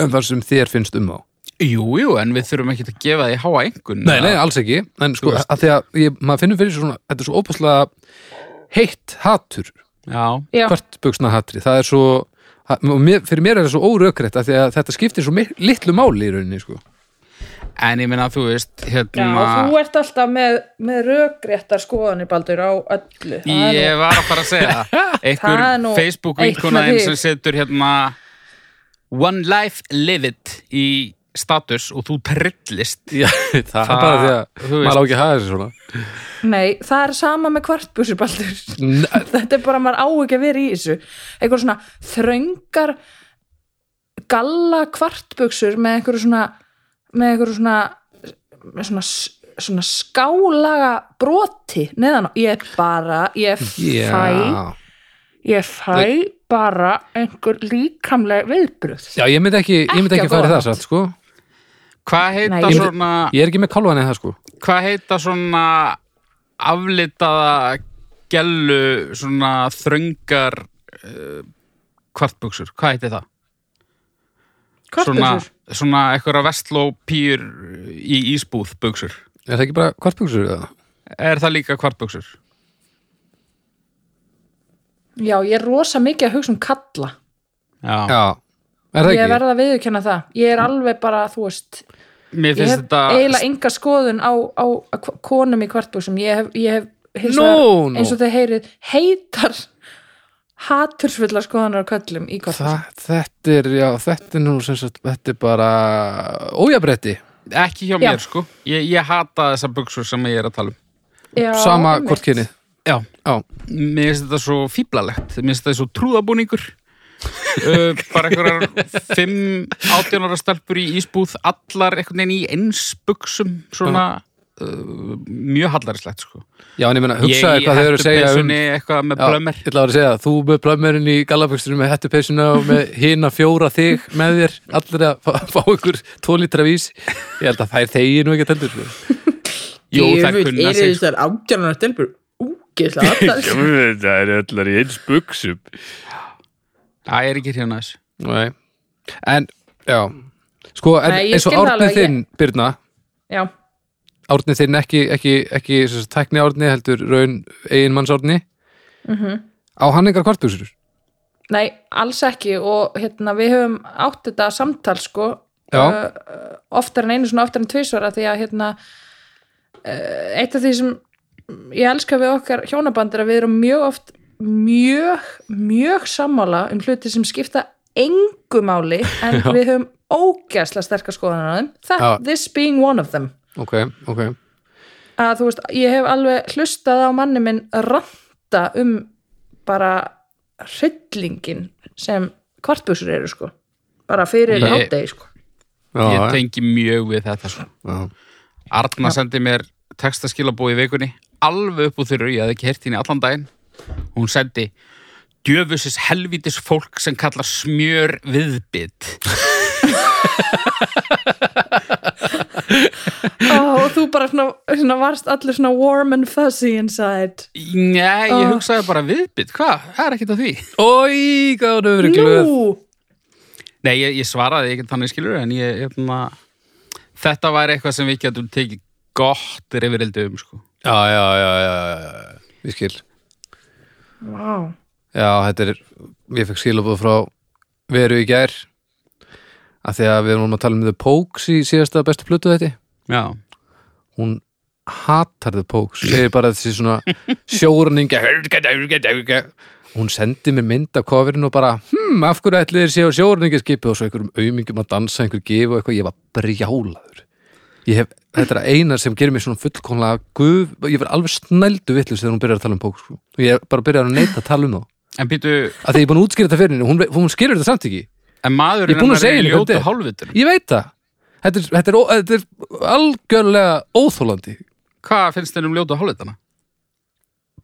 B: en það sem þér finnst um þá
A: jú, jú, en við þurfum ekki að gefa því háa engun.
B: Nei, nei, alls ekki, en sko
A: Þú veist.
B: að því að ég, maður finnur fyrir svona, þetta er svo ópaslega heitt hatur
A: Já,
C: Já,
B: kvartbugsna hatri, það er svo að- og mér, fyrir mér er það svo órökrætt af því að þetta skiptir svo mi- litlu máli í rauninni sko.
A: en ég minna að þú veist,
C: já
A: hérna...
C: þú ert alltaf með, með rökréttar skoðanir, Baldur, á öllu. Það er nú-
A: Ég var að fara að
C: (laughs)
A: segja það einhver
C: Það er nú
A: Facebook
C: eitt
A: vinkona
C: með
A: einn
C: þig.
A: sem setur hérna One life live it í status og þú trillist
B: Já, (laughs) það, er bara því að
A: þú veist.
B: maður á ekki að hafa þessi svona
C: Nei, það er sama með kvartbúsir, Baldur.
B: Nei,
C: (laughs) þetta er bara, maður á ekki að vera í þessu. Eitthvað svona þröngar galla kvartbuksur með einhverju svona, með einhverju svona, með svona, svona skálaga broti neðan á. Ég er bara, ég
B: Já,
C: fæ, ég fæ bara einhver líkamleg viðbröð.
B: já ég myndi ekki, ég myndi
C: Ekki
B: ekki
C: á
B: fara í
C: góðan
B: það satt, sko.
A: Hvað heita
C: Nei, ég-
A: svona
B: Ég er ekki með kálvan eða það sko.
A: hvað heita svona aflitaða gellu svona þröngar uh, kvartbuksur, hvað heiti það? Svona,
C: Kvartbuksur.
A: svona eitthvað vestló pýr í ísbúð buksur
B: Er það ekki bara kvartbugsur eða?
A: Er það líka kvartbuksur?
C: Já, ég er rosa mikið að hugsa um kalla.
A: Já,
B: Já, er það
C: Ég
B: ekki?
C: verða að viðurkenna það. Ég er alveg bara, þú veist,
A: mér
C: ég
A: finnst
C: hef
A: þetta
C: eiginlega enga skoðun á, á hva- konum í kvartbúksum ég hef, ég hef hins
B: Nú,
C: vegar,
B: nú.
C: eins og þeir heyrið heitar hatursfullar skoðunar á köllum í
B: Þa,
C: kvartbúksum
B: þetta er, já, þetta er nú sem sagt, þetta er bara ójabretti,
A: ekki hjá
C: Já.
A: mér sko ég, ég hata þessar buksur sem ég er að tala um
C: Já,
B: sama
C: einmitt.
B: hvort kynni.
A: já,
B: Já,
A: mér finnst þetta svo fíblalegt mér finnst þetta svo
B: (laughs)
A: trúðabúningur uh, bara einhverjar fimm átjónara stelpur í ísbúð allar einhvern veginn í eins buksum svona uh, mjög hallarislegt sko
B: já, en ég meina, hugsaði hvað þau eru að segja um...
A: um eitthvað með
B: Já,
A: blömmir
B: Ég ætla að vera að segja, þú með plömmerin í gallabökstunum með hættupeysuna og með hina fjóra þig með þér, allir að fá, fá ykkur tólítra vís, ég held að þær þegi nú ekki að teldur, sko.
A: jú, það
D: Djöfull
A: kunna
D: eru
A: sig sko.
D: þessar átjánar stelpur úgeðslega allar
B: Það er allar í eins buksum.
A: Æ, ég er ekki hérna þess
B: Nei, en, já, sko, en
C: Nei, ég
B: eins og
C: skil það
B: árnið
C: alveg, ég-
B: þinn, Birna,
C: Já,
B: árni þinn ekki, ekki, ekki sem sagt, tækni árni heldur raun eiginmanns árni
C: Mhm.
B: á hann engar kvartbúsur
C: nei, alls ekki og hérna, við höfum átt þetta samtal sko
B: Já.
C: uh, oftar en einu svona oftar en tvisvara því að hérna uh, eitt af því sem ég elska við okkar hjónaband er að við erum mjög oft mjög, mjög sammála um hluti sem skipta engu máli
B: (laughs)
C: en við höfum ógæsla sterkar skoðanar á þeim That,
B: Já.
C: this being one of them
B: ok, ok,
C: að þú veist, ég hef alveg hlustað á manni minn ranta um bara hryllingin sem kvartbúsur eru sko bara fyrir
A: Ég-
C: hátegi sko
B: já,
A: ég
B: já,
A: tengi mjög við þetta sko
B: já.
A: Arna sendi mér textaskilabói í vikunni alveg upp úr þurru, ég hafði ekki hert henni allan daginn hún sendi djöfusis helvítis fólk sem kallar smjör viðbytt
C: oh, og þú bara svona, svona varst allur svona warm and fuzzy inside
A: Nei, ég
C: Ah.
A: hugsaði bara viðbytt, hvað? Það er ekkert að því
B: oi, hvað hún hefur verið glöð
C: Nú,
A: Nei, ég, ég svaraði ekkert þannig skilur en ég, hérna þetta væri eitthvað sem við getum tekið gott reyfirildi um, sko
B: já, já, já, já, já, já. ég skil
C: Vá.
B: já, þetta er, ég fekk skilabóð frá veru í gær að því að við erum að tala um The Pokes í síðasta bestu plötu þetta
A: Já,
B: hún hatar The Pokes segir bara þessi svona
A: (laughs)
B: sjórningja hún sendi mér mynd af kofirinn og bara hm, af hverju ætli þér séu á sjórningjaskipi og svo einhverjum aumingjum að dansa, einhver gif og eitthvað ég var brjálaður ég hef, þetta er eina sem gerir mér svona fullkomlega guf, ég var alveg snældu vitlis þegar hún byrjar að tala um Pokes sko. og ég bara byrjar að neita að tala um þá
A: en býtu
B: að því ég er búin að útskýra þetta fyrir henni, hún, hún skilur þetta samt ekki
A: En maðurinn
B: Ég er búinn að
A: hennar
B: segja
A: í
B: henni hvernig
A: ljótu
B: þetta er.
A: hálfvitur.
B: Ég veit það Þetta er, þetta er, ó- þetta er algjörlega óþólandi
A: Hvað finnst þér um ljótu hálfvitana?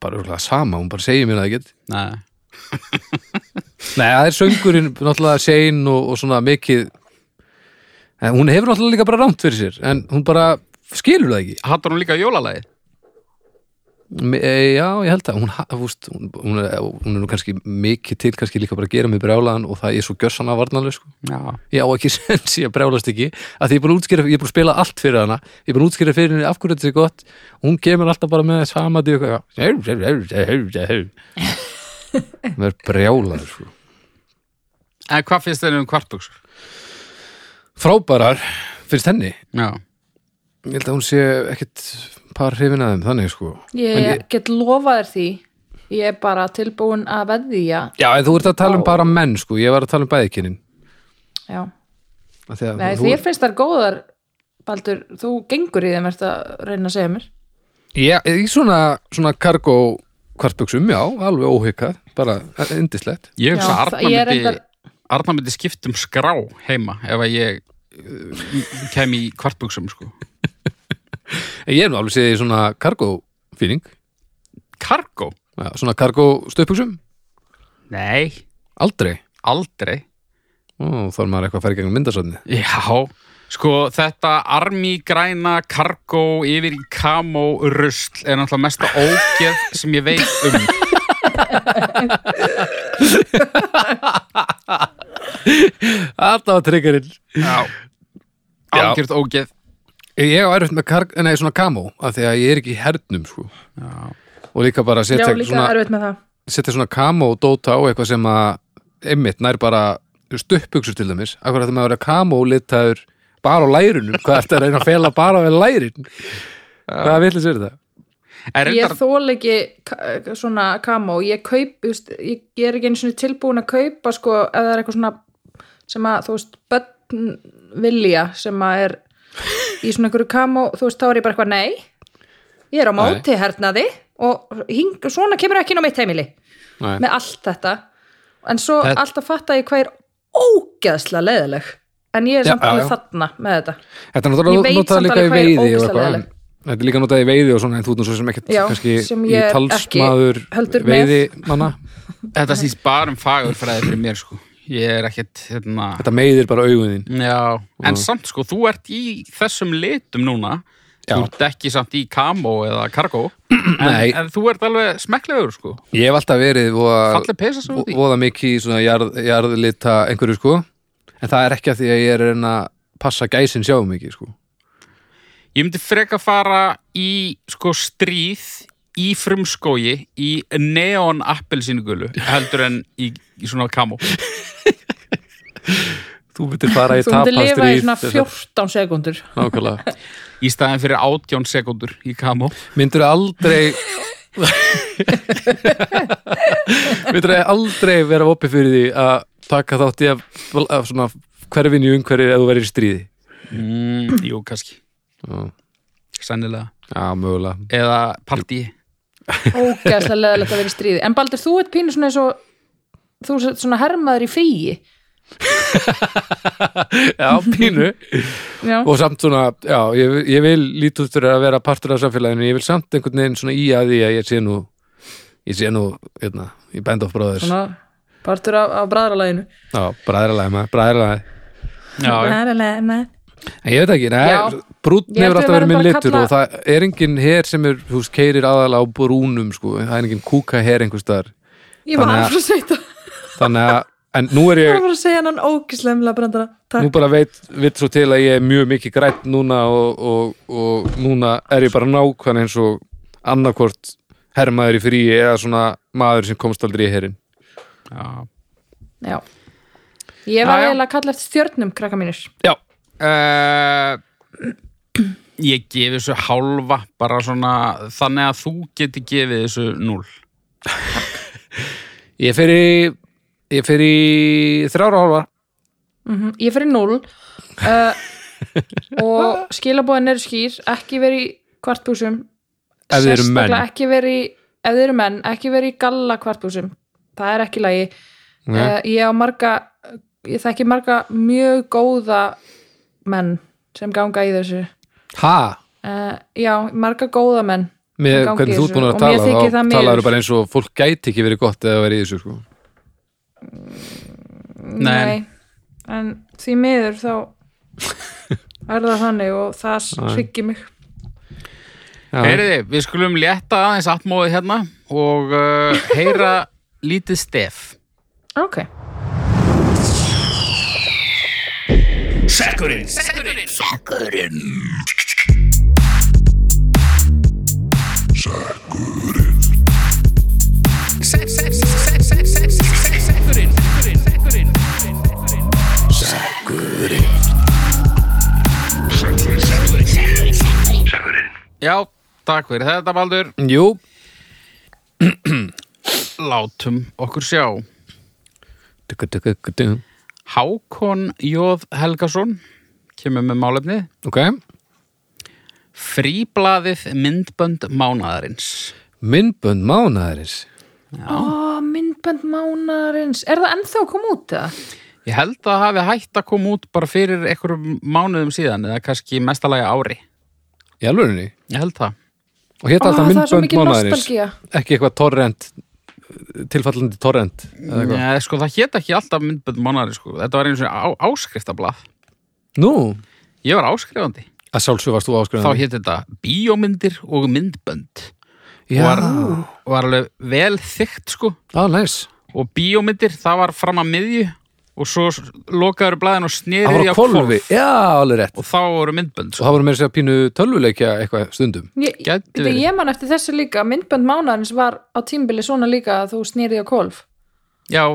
B: Bara örgulega sama, hún bara segir mér það ekkert
A: Nei.
B: Nei, það er söngurinn náttúrulega sein og, og svona mikið en hún hefur náttúrulega líka bara rámt fyrir sér en hún bara skilur það ekki
A: Hattar hún líka jólalagið?
B: Me, e, Já, ég held að hún, ha- fúst, hún, hún, er, hún er nú kannski mikið til kannski líka bara að gera mig brjálaðan og það er svo gjössanlega varnanlega sko.
A: Já.
B: Ég á ekki (laughs) sens í að brjálast ekki að því ég er búin að útskýra, ég er búin að spila allt fyrir hana ég er búin að útskýra fyrir henni af hverju þetta er gott og hún kemur alltaf bara með sama dýr eitthvað Mér er brjálaður sko.
A: En hvað finnst þér um kvartbuksur?
B: Frábærar finnst henni
A: Já.
B: Ég held að hún sé ekkit par hrifin að þeim þannig sko
C: Ég,
B: En ég-
C: get lofað þér því Ég er bara tilbúin að veðja
B: Já, en þú ert að tala um bara menn sko ég var að tala um bæðikinin
C: Já, Nei,
B: Nei,
C: þér finnst þær góðar Baldur, þú gengur í þeim Ertu að reyna að segja mér
B: Já, í svona, svona kargó kvartbuxum, já, alveg óhyggjað bara indislegt
A: Ég hugsa
C: Já,
A: að
C: það-
A: Arna
C: ég er
A: myndi,
C: reyndar-
A: Arna myndi skipt um skrá heima ef að ég uh, kem í kvartbuksum, sko.
B: En Ég er nú alveg séð í svona kargó fíning
A: Kargo?
B: já, svona kargó stöpuxum
A: Nei.
B: aldrei,
A: Aldrei.
B: Ó, þá er maður eitthvað að fara í gegnum myndasöfni
A: Já. Sko, þetta armi græna kargo yfir í kamó rusl er náttúrulega mesta ógeð sem ég veit um.
B: Alltaf að triggerinn
A: Já.
B: Já.
A: Algjört ógeð.
B: Ég á erfitt með karg, nei, svona kamó af því að ég er ekki í hernum sko.
A: Já.
B: og líka bara að
C: Já,
B: setja
C: líka
B: svona,
C: erfitt með það
B: setja svona kamó og dóta á eitthvað sem að einmitt nær bara stöpuxur til dæmis akkur að það maður er kamó litaður bara á lærunum, hvað ertu að reyna að fela bara við lærin hvaða villis er þetta?
A: Er
C: Ég
A: reyndar,
C: þól ekki ka- svona kamó, ég kaup þú veist, ég, ég er ekki einu svona tilbúin að kaupa sko, ef það er eitthvað svona sem að, þú veist, börn vilja sem að er í svona einhverju kamó, þú veist, þá er ég bara eitthvað nei ég er á móti hernaði og hing, svona kemur ekki inn á mitt heimili
B: Nei.
C: með allt þetta en svo
A: Þetta-
C: alltaf fatta ég hvað er ógeðslega leiðileg en ég er
B: Já,
C: samt
B: já,
C: alveg
B: já.
C: þarna með þetta
B: Þetta er
C: Ég
B: náttúrulega
C: veit
B: notað
C: samt
B: líka í
C: alveg hvað er
B: veiði og
C: ógeðslega
B: eitthvað en
C: leiðilegt.
B: Þetta er líka notað í veiði og svona en þú ert nú svo sem ekkert
C: Já,
B: kannski
C: sem
B: í
C: ég er
B: talsmaður
C: ekki heldur með.
B: veiði manna
A: þetta snýst bara um fagurfræði fyrir mér, sko. Ég er ekkit, hérna...
B: Þetta meiðir bara augun þín
A: Já, en
B: Mm.
A: samt sko, þú ert í þessum litum núna
B: Já.
A: Þú ert ekki samt í kamó eða
B: (clears throat)
A: kargó en,
B: Nei.
A: en þú ert alveg smekklegur sko
B: Ég hef alltaf verið voða,
A: Falleg peysa sem þú ert í.
B: voða mikið í svona jarð, jarðlita einhverju sko en það er ekki að því að ég er að reyna að passa gæsin sjá mikið sko
A: Ég myndi freka fara í sko stríð í frumskói í neon appelsínugulu heldur en í, í svona kamó
B: Þú myndir fara í
C: þú myndi lifa í
B: tapastrýð
C: svona 14 sekundur
B: Nákvæmlega
A: í staðin fyrir átjón sekundur í kamó
B: Myndir aldrei Myndir aldrei vera opið fyrir því að taka þátt í að, að svona hverfin í umhverju eða þú verið í stríði
A: mm, Jú, kannski
B: Já.
A: Sennilega
B: Já, mögulega
A: Eða partí
C: ógæðslega leðilegt að vera í stríði en Baldur, þú ert pínu svona eins og þú ert svona hermaður í fríi
B: Já, pínu
C: já,
B: Og samt svona, já, ég, ég vil lítið út fyrir að vera partur af samfélaginu Ég vil samt einhvern veginn svona í að því að ég sé nú Ég sé nú, hérna, í Band of Brothers
C: svona partur af, af bræðralæginu
B: Já, bræðralæði maður, bræðralæði
A: Já,
C: já,
B: En ég veit ekki,
C: Já.
B: nei, brúnn
C: Ég
B: hefur
C: held við
B: alltaf verið
C: verðum
B: minn
C: bara að
B: litur
C: kalla-
B: og það er enginn her sem er, þú veist, keirir aðalega á brúnum, sko, það er enginn kúka her einhvers staðar,
C: ég var
B: Þannig að-
C: að fara að segja þetta
B: þannig að en nú er
C: ég var
B: ég,
C: að fara að segja hann ógæðslega brandara
B: nú
C: takk,
B: bara veit vill svo til að ég er mjög mikið grætt núna og, og, og núna er ég bara nákvæm eins og annarkvort herrmaður í fríi eða svona maður sem komst aldrei í herin
A: já.
C: já ég var
A: Já, já.
C: eiginlega að kalla eftir stjörnum krakka mínir
B: Já,
A: Eh, ég gefi þessu hálfa bara svona þannig að þú geti gefið þessu núl
B: ég fer í ég fer í þrjára hálfa
C: Mhm, ég fer í 0 uh, og skilabóðin eru skýr ekki verið í kvartbúsum
B: Ef þið eru
C: Sérstaklega
B: menn.
C: ekki verið í- ef þið eru menn, ekki verið í galla kvartbúsum það er ekki lagi
B: Nei.
C: uh, ég á marga ég þekki marga mjög góða menn sem ganga í þessu
B: ha,
C: uh, já, marga góða menn
B: með
C: Gangi
B: hvernig þú ert
C: þessu.
B: búin
C: Og
B: að
C: mér
B: tala
C: þykir
B: þá
C: það miður.
B: talaður bara eins og fólk gæti ekki verið gott eða verið í þessu sko.
A: Nei.
C: en því miður þá
B: (laughs)
C: er það þannig og það hryggir mig
B: Já.
A: Heyriði, við skulum létta aðeins atmóðið hérna og uh, heyra lítið stef.
C: ok,
A: Já, takk fyrir þetta, Baldur.
B: jú,
A: Látum okkur sjá.
B: Tukkutukkutukkutum.
A: Hákon Jóð Helgason kemur með málefnið.
B: ok
A: Fríblaðið myndbönd mánaðarins.
B: minnbönd mánaðarins
C: ó, myndbönd mánarins er það ennþá að koma út það?
A: Ég held að það hafi hægt að koma út bara fyrir einhverjum mánuðum síðan eða kannski mestalagi ári.
B: í alvörunni,
A: Ég held það.
B: og hétt
C: Ó,
B: alltaf
C: það er svo
B: minnbönd
C: mikil
B: mánaðarins
C: nostalgía
B: ekki eitthvað torrent tilfallandi torrent eða eitthvað.
A: Nei, sko, það hét ekki alltaf myndbönd mánaðarins, sko. Þetta var einu svona á, áskriftablað.
B: nú,
A: Ég var áskrifandi.
B: að sjálfsög varst þú
A: Þá
B: áskrifandi
A: hétt þetta bíómyndir og myndbönd.
B: já,
A: Var, var alveg vel þygt, sko.
B: á næs
A: Og bíómyndir, það var fram að miðju og svo s- lokaður blaðin og
B: það
A: snerið
B: var á kvolfi, já, alveg rétt
A: Og þá voru myndbönd,
B: og
A: sko.
B: það voru meira að segja pínu tölvuleikja eitthvað stundum
C: Ég,
A: Gæti
C: byrju,
A: verið.
C: ég man eftir þessu líka myndbönd mánarins var á tímbili svona líka að þú snýrið á kolf
A: Já,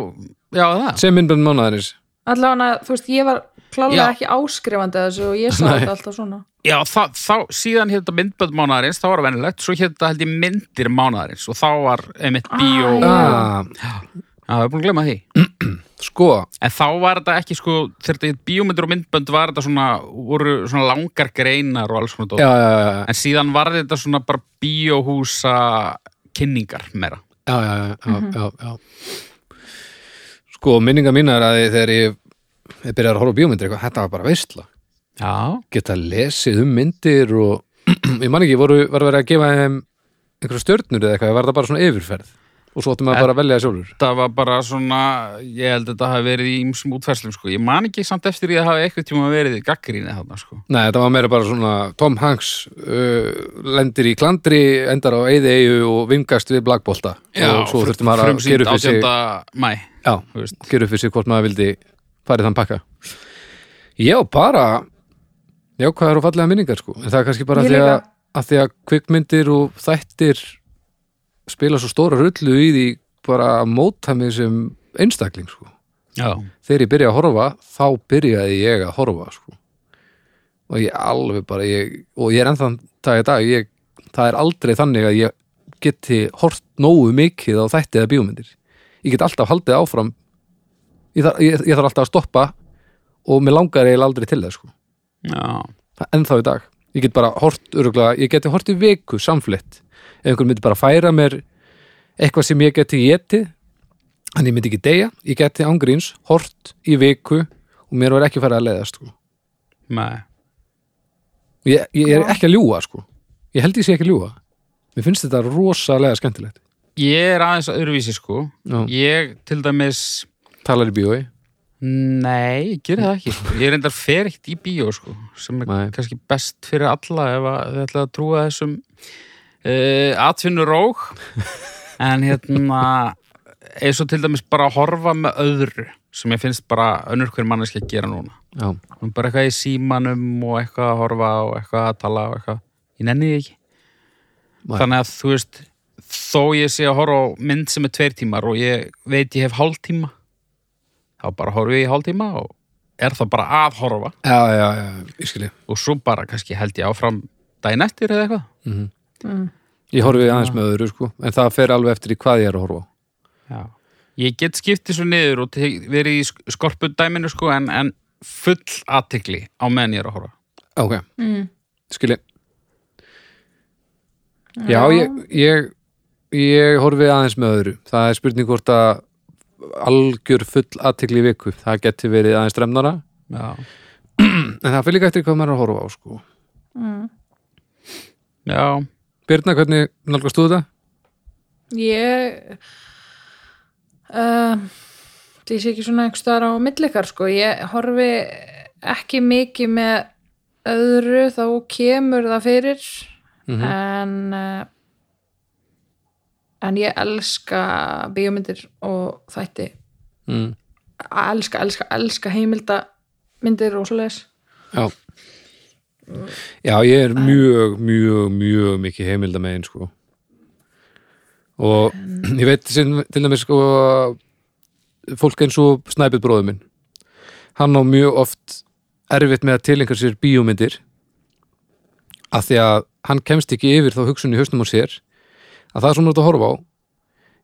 A: já, það.
B: sem minnbönd mánaðarins
C: allavega, þú veist, ég var klálega
A: Já.
C: ekki áskrifandi að þessu og ég sá
B: Nei.
C: þetta alltaf svona
A: Já, það, þá, síðan hétt þetta myndbönd mánaðarins, þá var það venjulegt, svo hétt þetta held ég myndir mánaðarins og þá var einmitt bíó.
C: já.
A: Já,
B: ah,
A: það er búin að glemma því.
B: sko,
A: En þá var þetta ekki sko, þegar þetta bíómyndir og myndbönd var þetta svona, voru svona langar greinar og alls konar dót.
B: já, já, já,
A: En síðan var þetta svona bara bíóhúsa kynningar meira.
B: já, já, já, já, já, já. sko, minninga mína er að ég- þegar ég, ég byrjar að horfa á bíómyndir eitthvað, þetta var bara veistla
A: Já.
B: geta lesið um myndir og (clears throat) ég man ekki, voru, var verið að gefa þeim einhverja stjörnur eða eitthvað, var það bara svona yfirferð og svo áttum maður bara að velja það sjálfur
A: Þetta var bara svona, ég held að þetta hafi verið í ymsum útferslum sko. Ég man ekki samt eftir því að það hafi eitthvað tíma verið í gaggrínið þarna sko.
B: Nei, þetta var meira bara svona Tom Hanks uh, lendir í klandri, endar á eyðeigu og vingast við blagbolta og svo þurfti maður að gera upp fyrir sig
A: 18. mæ.
B: Já,
A: þú veist.
B: gera upp fyrir sig hvort maður vildi farið þann pakka Já, bara jákvæðar og fallega minningar sko en það er kannski bara
C: Ég
B: að því að,
C: líka.
B: að því að kvikmyndir og þættir spila svo stóra rullu í því bara að móta mig sem einstakling sko
A: Já.
B: þegar ég byrja að horfa þá byrjaði ég að horfa sko. og ég alveg bara ég, og ég er ennþann dag í dag ég, það er aldrei þannig að ég geti hort nógu mikið á þætti eða bíómyndir ég get alltaf haldið áfram ég þarf, ég, ég þarf alltaf að stoppa og mér langar eiginlega aldrei til það sko.
A: Já.
B: Það er ennþá í dag ég get bara hort öruglega, ég geti hort í viku samflett, ef einhver myndi bara færa mér eitthvað sem ég geti getið en ég myndi ekki deyja ég geti ángríns, hort í viku og mér var ekki færa að leiðast sko.
A: Nei.
B: ég, ég er
C: Já.
B: ekki að ljúga sko. ég held ég sé ekki að ljúga mér finnst þetta rosalega skemmtilegt
A: Ég er aðeins öðruvísi sko.
B: Já.
A: Ég til dæmis,
B: talar í bíói,
A: nei, ég gerir það ekki. Sko. Ég reyndar fer ekkert í bíó sko, sem er
B: Nei.
A: kannski best fyrir alla ef að þið ætlaði að trúa þessum uh,
B: (laughs)
A: atvinnurók. en hérna, eins og til dæmis bara að horfa með öðru sem ég finnst bara önnur hver manneski að gera núna.
B: já,
A: Hún er bara eitthvað í símanum og eitthvað að horfa og eitthvað að tala og eitthvað. Ég nenni því ekki.
B: Nei.
A: Þannig að þú veist, þó ég sé að horfa á mynd sem er tveir tímar og ég veit ég hef hálftíma, þá bara horfi ég í hálftíma og er það bara að horfa
B: já, já, já ég skilji,
A: og svo bara kannski held ég áfram daginn eftir eða eitthvað.
B: ég horfi aðeins með öðru sko. en það fer alveg eftir í hvað ég er að horfa á.
A: Já. Ég get skiptið svo niður og te- verið í sk- skorpudæminu sko en, en full aðtikli á meðan ég er að horfa.
B: Ok, mm. skilji Já, ég, ég ég horfi aðeins með öðru það er spurning hvort að algjör full aðtikli viku það geti verið aðeins stremnara
A: Já.
B: en það fyrir líka eftir hvað maður er að horfa á sko.
A: Já.
B: Birna, hvernig nálgast þú þetta?
C: Ég uh, Því sé ekki svona einhvers staðar á millikar sko, ég horfi ekki mikið með öðru þá kemur það fyrir en uh, en ég elska bíómyndir og þætti
B: Mm.
C: elska, elska, elska heimildamyndir og svoleiðis
B: Já Já, ég er mjög, mjög, mjög mikið heimildamegin sko og (clears throat) ég veit sem, til dæmis sko fólk eins og snæpið bróður minn hann á mjög oft erfitt með að tilengar sér bíómyndir af því að hann kemst ekki yfir þá hugsun í hausnum á sér að það sem hann er að horfa á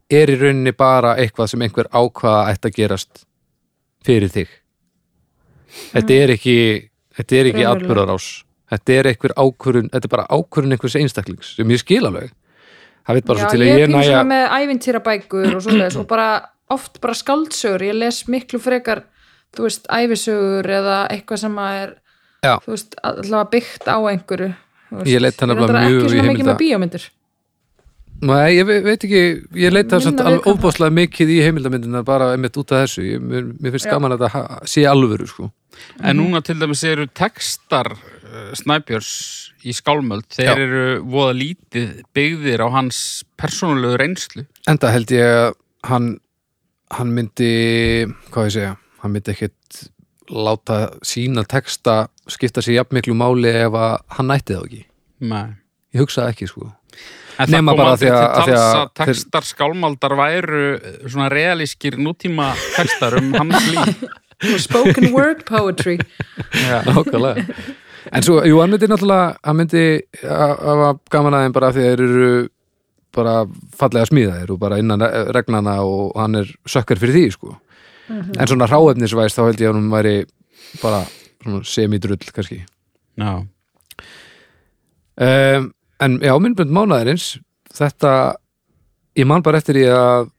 B: er í rauninni bara eitthvað sem einhver ákvaða ætti að gerast fyrir þig þetta er ekki þetta er ekki
C: Mm. Raunverulega.
B: atbyrðarás þetta er einhver ákvörun þetta er bara ákvörun einhvers einstaklings sem ég skil alveg það veit bara
C: Já,
B: svo til
C: ég
B: að
C: er
B: ég
C: pínu
B: næja
C: svona með ævintýrabækur og svoleiðis og bara oft bara skaldsögur ég les miklu frekar, þú veist, ævisögur eða eitthvað sem að er
B: Já.
C: þú veist, allavega byggt á einhverju þú veist.
B: Ég leit hann
C: er
B: nefnilega
C: reyndar
B: mjög í
C: ekki svona mikið
B: heimilda.
C: með bíómyndir
B: Nei, ég ve- veit ekki, ég leita
C: Minna
B: samt
C: við
B: alveg
C: hvað það-
B: óbáslega mikið í heimildamyndina bara einmitt út af þessu, ég, mér, mér finnst
C: Já.
B: gaman að þetta ha- sé alvöru, sko
A: En núna til dæmis eru textar uh, Snæbjörns í Skálmöld
B: Já.
A: þeir eru voða lítið byggðir á hans persónulegu reynslu
B: Enda held ég að hann hann myndi, hvað ég segja hann myndi ekkit láta sína texta skipta sér jafn miklu máli ef að hann nætti þá ekki
A: Nei.
B: ég hugsaði ekki, sko
A: En
B: Nema
A: það kom
B: bara því
A: aldrei
B: að-
A: til
B: að því
A: tals
B: að
A: að textar skálmaldar væru uh, svona realískir nútíma textar um
B: (laughs)
A: hans líf
C: Og spoken word poetry
B: (laughs) Nákvæmlega En svo, jú, hann myndi náttúrulega hann myndi hafa gaman aðeim bara af því að þeir eru bara fallega smíðaðir og bara innan re- regnana og hann er sökkar fyrir því, sko
C: Mhm.
B: En svona hráefnisvæs þá held ég að hann væri bara svona semidrull kannski
A: Já,
B: um, En já, minnbund mánaðarins þetta, ég man bara eftir því að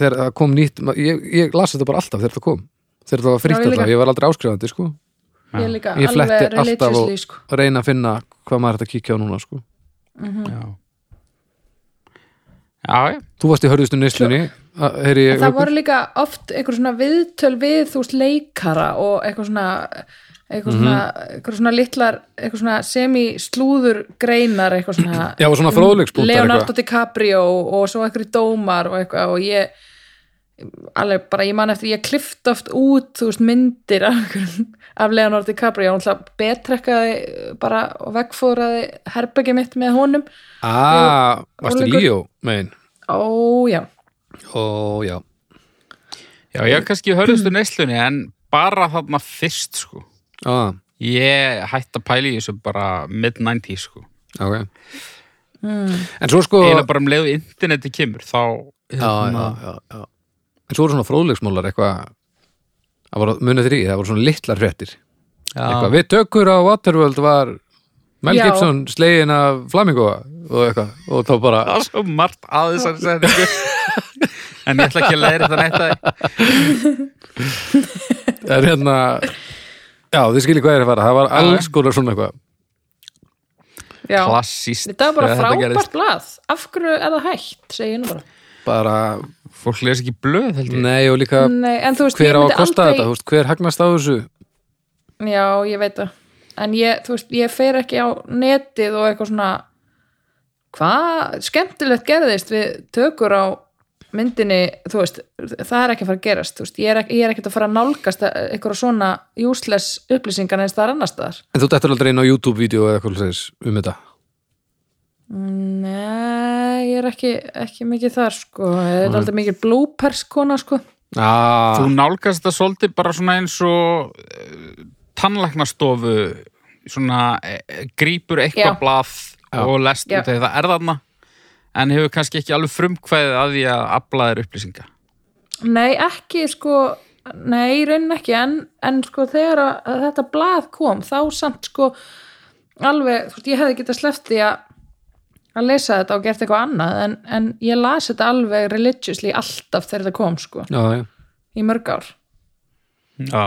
B: þegar það kom nýtt ég, ég las þetta bara alltaf þegar það kom þegar það var
C: Já,
B: frítt
C: ég líka.
B: alltaf, ég var aldrei áskrifandi, sko
C: ég er líka
B: Ég fletti
C: alveg
B: alltaf á-
C: religiously sko.
B: að reyna að finna hvað maður er hægt að kíkja á núna sko.
A: já Já, já,
B: Þú varst í hörðustu neyslunni að- heyri ég
C: En það
B: Haukur?
C: voru líka oft einhver svona viðtöl við þú veist leikara og eitthvað svona eitthvað svona,
B: Mhm.
C: eitthvað svona litlar eitthvað svona semi-slúður greinar eitthvað svona
B: (clears throat) Já, og svona fróðleikspunktar
C: Leonardo
B: eitthvað.
C: DiCaprio og svo einhverju dómar og eitthvað og ég alveg bara, ég man eftir, ég klift oft út þú veist myndir af, einhverjum- af Leonardo DiCaprio, hann alltaf betrekkaði bara og vegfóraði herbergi mitt með honum
B: Ah, varstu
C: Ólíkur-
B: líó, megin
C: ó já,
B: Ó, já
A: já, ég er kannski hörðustu neyslunni en bara þarna fyrst sko
B: ah,
A: Ég hætti að pæla í þessu bara mid-90s sko
B: okay.
C: Hmm.
B: En svo sko
A: eiginlega bara um leiðu interneti kemur þá
B: já, já, já, já. En svo voru svona fróðleiksmólar eitthvað Það voru munið þrý, það voru svona litlar hrettir eitthvað, Við tökur á Waterworld var Mel
C: Já.
B: Gibson slegin af Flamingo og eitthvað, og þá bara
A: það er svo margt að þessari setningu en ég ætla ekki að læra þetta nætt að
B: en hérna Já, þið skiljið hvað er að fara, það var alls konar svona eitthvað
C: já.
A: klassíst
C: Þetta var bara
A: þegar þetta gerist.
C: frábært blað. Af hverju er það hægt, segi ég nú bara.
B: bara,
A: fólk les ekki blöð held ég
B: nei og líka
C: Nei, en Mm, þú veist,
B: hver á
C: ég
B: að
C: myndi
B: kosta
C: aldrei...
B: þetta, þú veist, hver hagnast á þessu
C: Já, ég veit það. En ég, þú veist, ég fer ekki á netið og eitthvað svona, hvað skemmtilegt gerðist við tökur á myndinni, þú veist, það er ekki að fara að gerast, þú veist, ég er, ekki, ég er ekkert að fara að nálgast eitthvað svona useless upplýsingar eins það er annars staðar.
B: En þú dættur aldrei inn á YouTube-vídeó eða eitthvað þess um þetta
C: Nei, ég er ekki, ekki mikið þar, sko, þetta er aldrei mikið bloopers kona, sko.
A: þú
B: ah,
A: nálgast þetta svolítið bara svona eins og uh, tannlæknastofu svona uh, grípur
C: Já.
A: eitthvað blað og lest
C: Já.
A: út af því það er þarna en hefur kannski ekki alveg frumkvæðið að því að afla þér upplýsinga
C: Nei, ekki sko Nei, í raunin ekki en, en sko þegar að, að þetta blað kom þá samt sko alveg, þú veist, ég hefði getað sleppt því að að lesa þetta og gert eitthvað annað en, en ég las þetta alveg religiously alltaf þegar þetta kom sko
B: já, já,
C: í mörg ár
A: Já.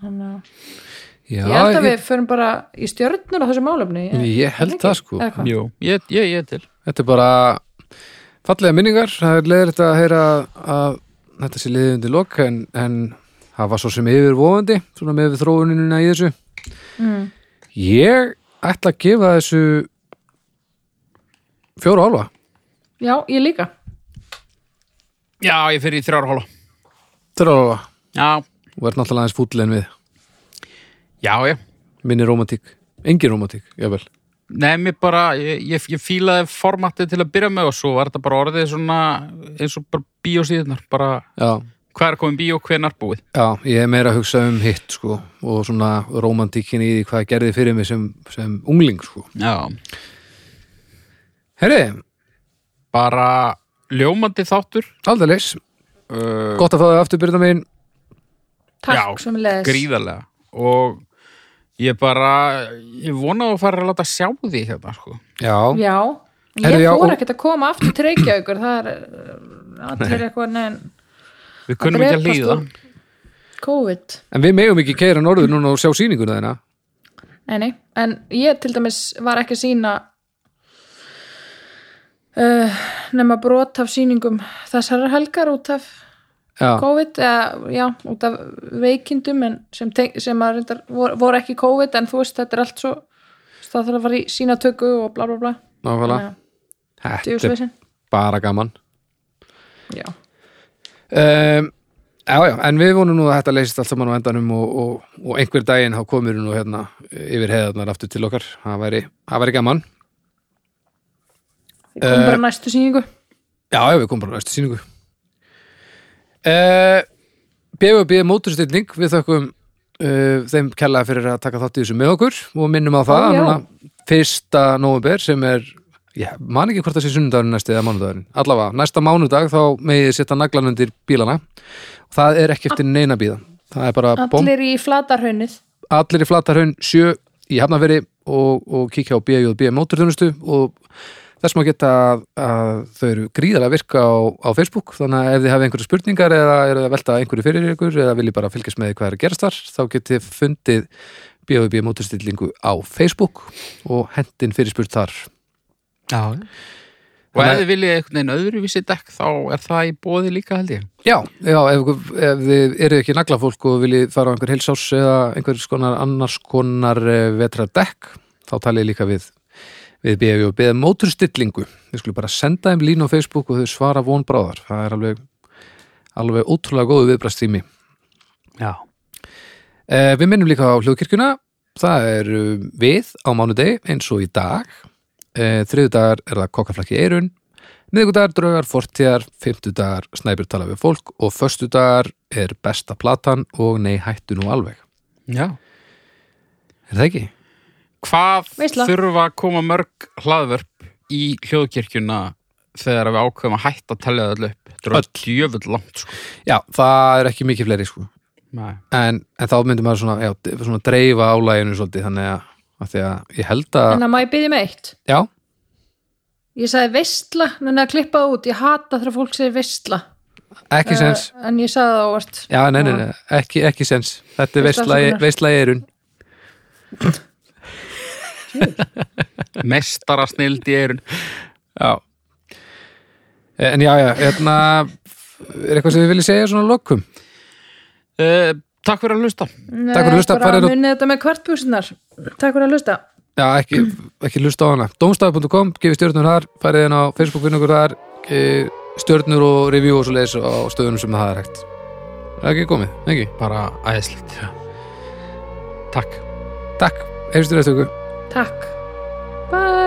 C: Þannig að
B: já
C: ég held að
B: ég,
C: við förum bara í stjörnur á þessu málefni
B: ég held það sko
C: Eða hvað?
A: Jú, ég, ég, ég er til.
B: þetta er bara fallega minningar, það er leiðilegt að heyra að þetta sé liðið undir lok en, en það var svo sem yfirvofandi svona með við þróunina í þessu
C: Mm.
B: ég ætla að gefa þessu fjóra álfa
C: Já, ég líka
A: Já, ég fyrir í þrjára hóla.
B: þrjóra álfa
A: Já.
B: og er náttúrulega aðeins fúll en við
A: Já, já.
B: minni romantík, engin romantík, jável
A: Nei, mér bara, ég, ég, ég fílaði formatið til að byrja með og svo var þetta bara orðið svona eins og bara bíósíðunar, bara
B: já,
A: hvað er komin bíó, hvenar búið.
B: já, ég er meira að hugsa um hitt sko og svona romantíkin í því hvað gerði fyrir mig sem, sem ungling sko
A: Já.
B: herri,
A: Bara ljómandi þáttur,
B: aldrei leys gott að fá þau aftur byrða mín
A: Já,
C: Takk sem leðis
A: gríðarlega og ég bara, ég vona að þú fara að láta sjá því hérna, sko.
B: já,
C: Já, ég
B: Herðu, já,
C: fór
B: og-
C: ekkert að koma aftur til Reykjavíkur það er uh, allir eitthvað neðan
A: Við kunnum ekki að
C: drepast
A: líða.
C: úr COVID
B: en við megum ekki keira norður núna og sjá sýninguna þeirna
C: Nei, nei, en ég til dæmis var ekki að sína uh, nema brot af sýningum þessarar helgar út af
B: já,
C: COVID, eða, já, út af veikindum en sem, teng- sem að reyndar voru, voru ekki COVID en þú veist, þetta er allt svo þú veist, það þarf að fara í sínatöku og bla bla bla
B: náfælega
C: Þannig að
B: þetta er
C: djöfisveisin.
B: bara gaman
C: Já,
B: um, Já, já, en við vonum nú að þetta leysist allt saman á endanum og, og, og einhver daginn þá komur nú hérna yfir heiðarnar aftur til okkar, það væri, það væri gaman
C: við komum
A: Eh,
C: bara næstu sýningu
B: Já, já, við komum bara á næstu sýningu uh, BVB móturstilling, við þökkum uh, þeim kellaði fyrir að taka þátt í þessu með okkur og minnum á það
C: Ó,
B: að
C: já.
B: núna fyrsta nóvember sem er Já, man ekki hvort það sé sunnudagurinn næsti eða mánudagurinn. Allavega, næsta mánudag þá megið þið setja naglan undir bílana. Það er ekki eftir neina bíða. Það er bara bomb
C: Allir í flatarhaunnið
B: allir í Flatarhaun 7 í Hafnaferi og, og kíkja á BJB móturþjónustu og þess maður geta að, að þau eru gríðarlega að virka á, á Facebook þannig að ef þið hafi einhverju spurningar eða eru að velta einhverju fyrir ykkur eða vilji bara fylgjast með hvað er að gerast þar þá getið þið fundið BJB móturstillingu á Facebook og hendin fyrirspurt þar
A: Já. Og
B: Þannig-
A: ef þið viljið einhvern veginn öðruvísi dekk, þá er það í bóði líka, held ég.
B: Já, já ef, ykkur- ef þið eru ekki naglafólk og viljið fara á einhver heilsás eða einhvers konar annars konar vetra dekk, þá talið líka við við BFJ og beða móturstillingu við skulum bara senda þeim línu á Facebook og þau svara vonbráðar, það er alveg alveg ótrúlega góðu viðbrastími
A: Já.
B: eh, Við minnum líka á hljóðkirkjuna það er eh, við á mánudegi eins og í dag eh, þriðudagar er það kokkaflakki eirun miðgudagar draugar, fortíðar fymtudagar snæpjur tala við fólk og föstudagar er besta platan og nei hættu nú alveg
A: Já.
B: Er það ekki?
A: Hvað
C: Veisla.
A: þurfa að koma mörg hlaðvörp í hljóðkirkjuna þegar við ákveðum að hætta að telja það öll upp? Þetta er
B: Öll.
A: öll jöfull langt, sko.
B: Já, það er ekki mikið fleiri sko
A: (laughs) Nei.
B: en, en þá myndum maður svona, já, svona dreifa álæginu svolítið þannig að, að því að ég held að
C: en það má ég byrja með eitt
B: já,
C: Ég sagði veistla, en að klippa það út, ég hata þegar fólk segir veistla.
B: ekki sens
C: Eh, En ég sagði það ávart.
B: já, nei, nei, nei, ekki, ekki sens þetta er
C: Veist afsökunar.
B: veistlægi erun
A: Mestara snild í eirun.
B: já en já, já, hérna er eitthvað sem við viljum segja svona að lokum
A: Uh, takk fyrir að hlusta.
B: Takk fyrir að hlusta, farið
C: Bara
B: og-
C: munið þetta með kvartbúsinar. Takk fyrir að hlusta.
B: já, ekki, ekki hlusta á hana domstaf.com, gefið stjörnur þar farið inn á Facebook vinn okkur þar eh, stjörnur og review og svo leis á stöðunum sem það er hægt það er ekki komið, ekki,
A: Bara æðislegt. Já. Takk.
B: takk, heyrstu næstu okkur
C: Takk. Bye.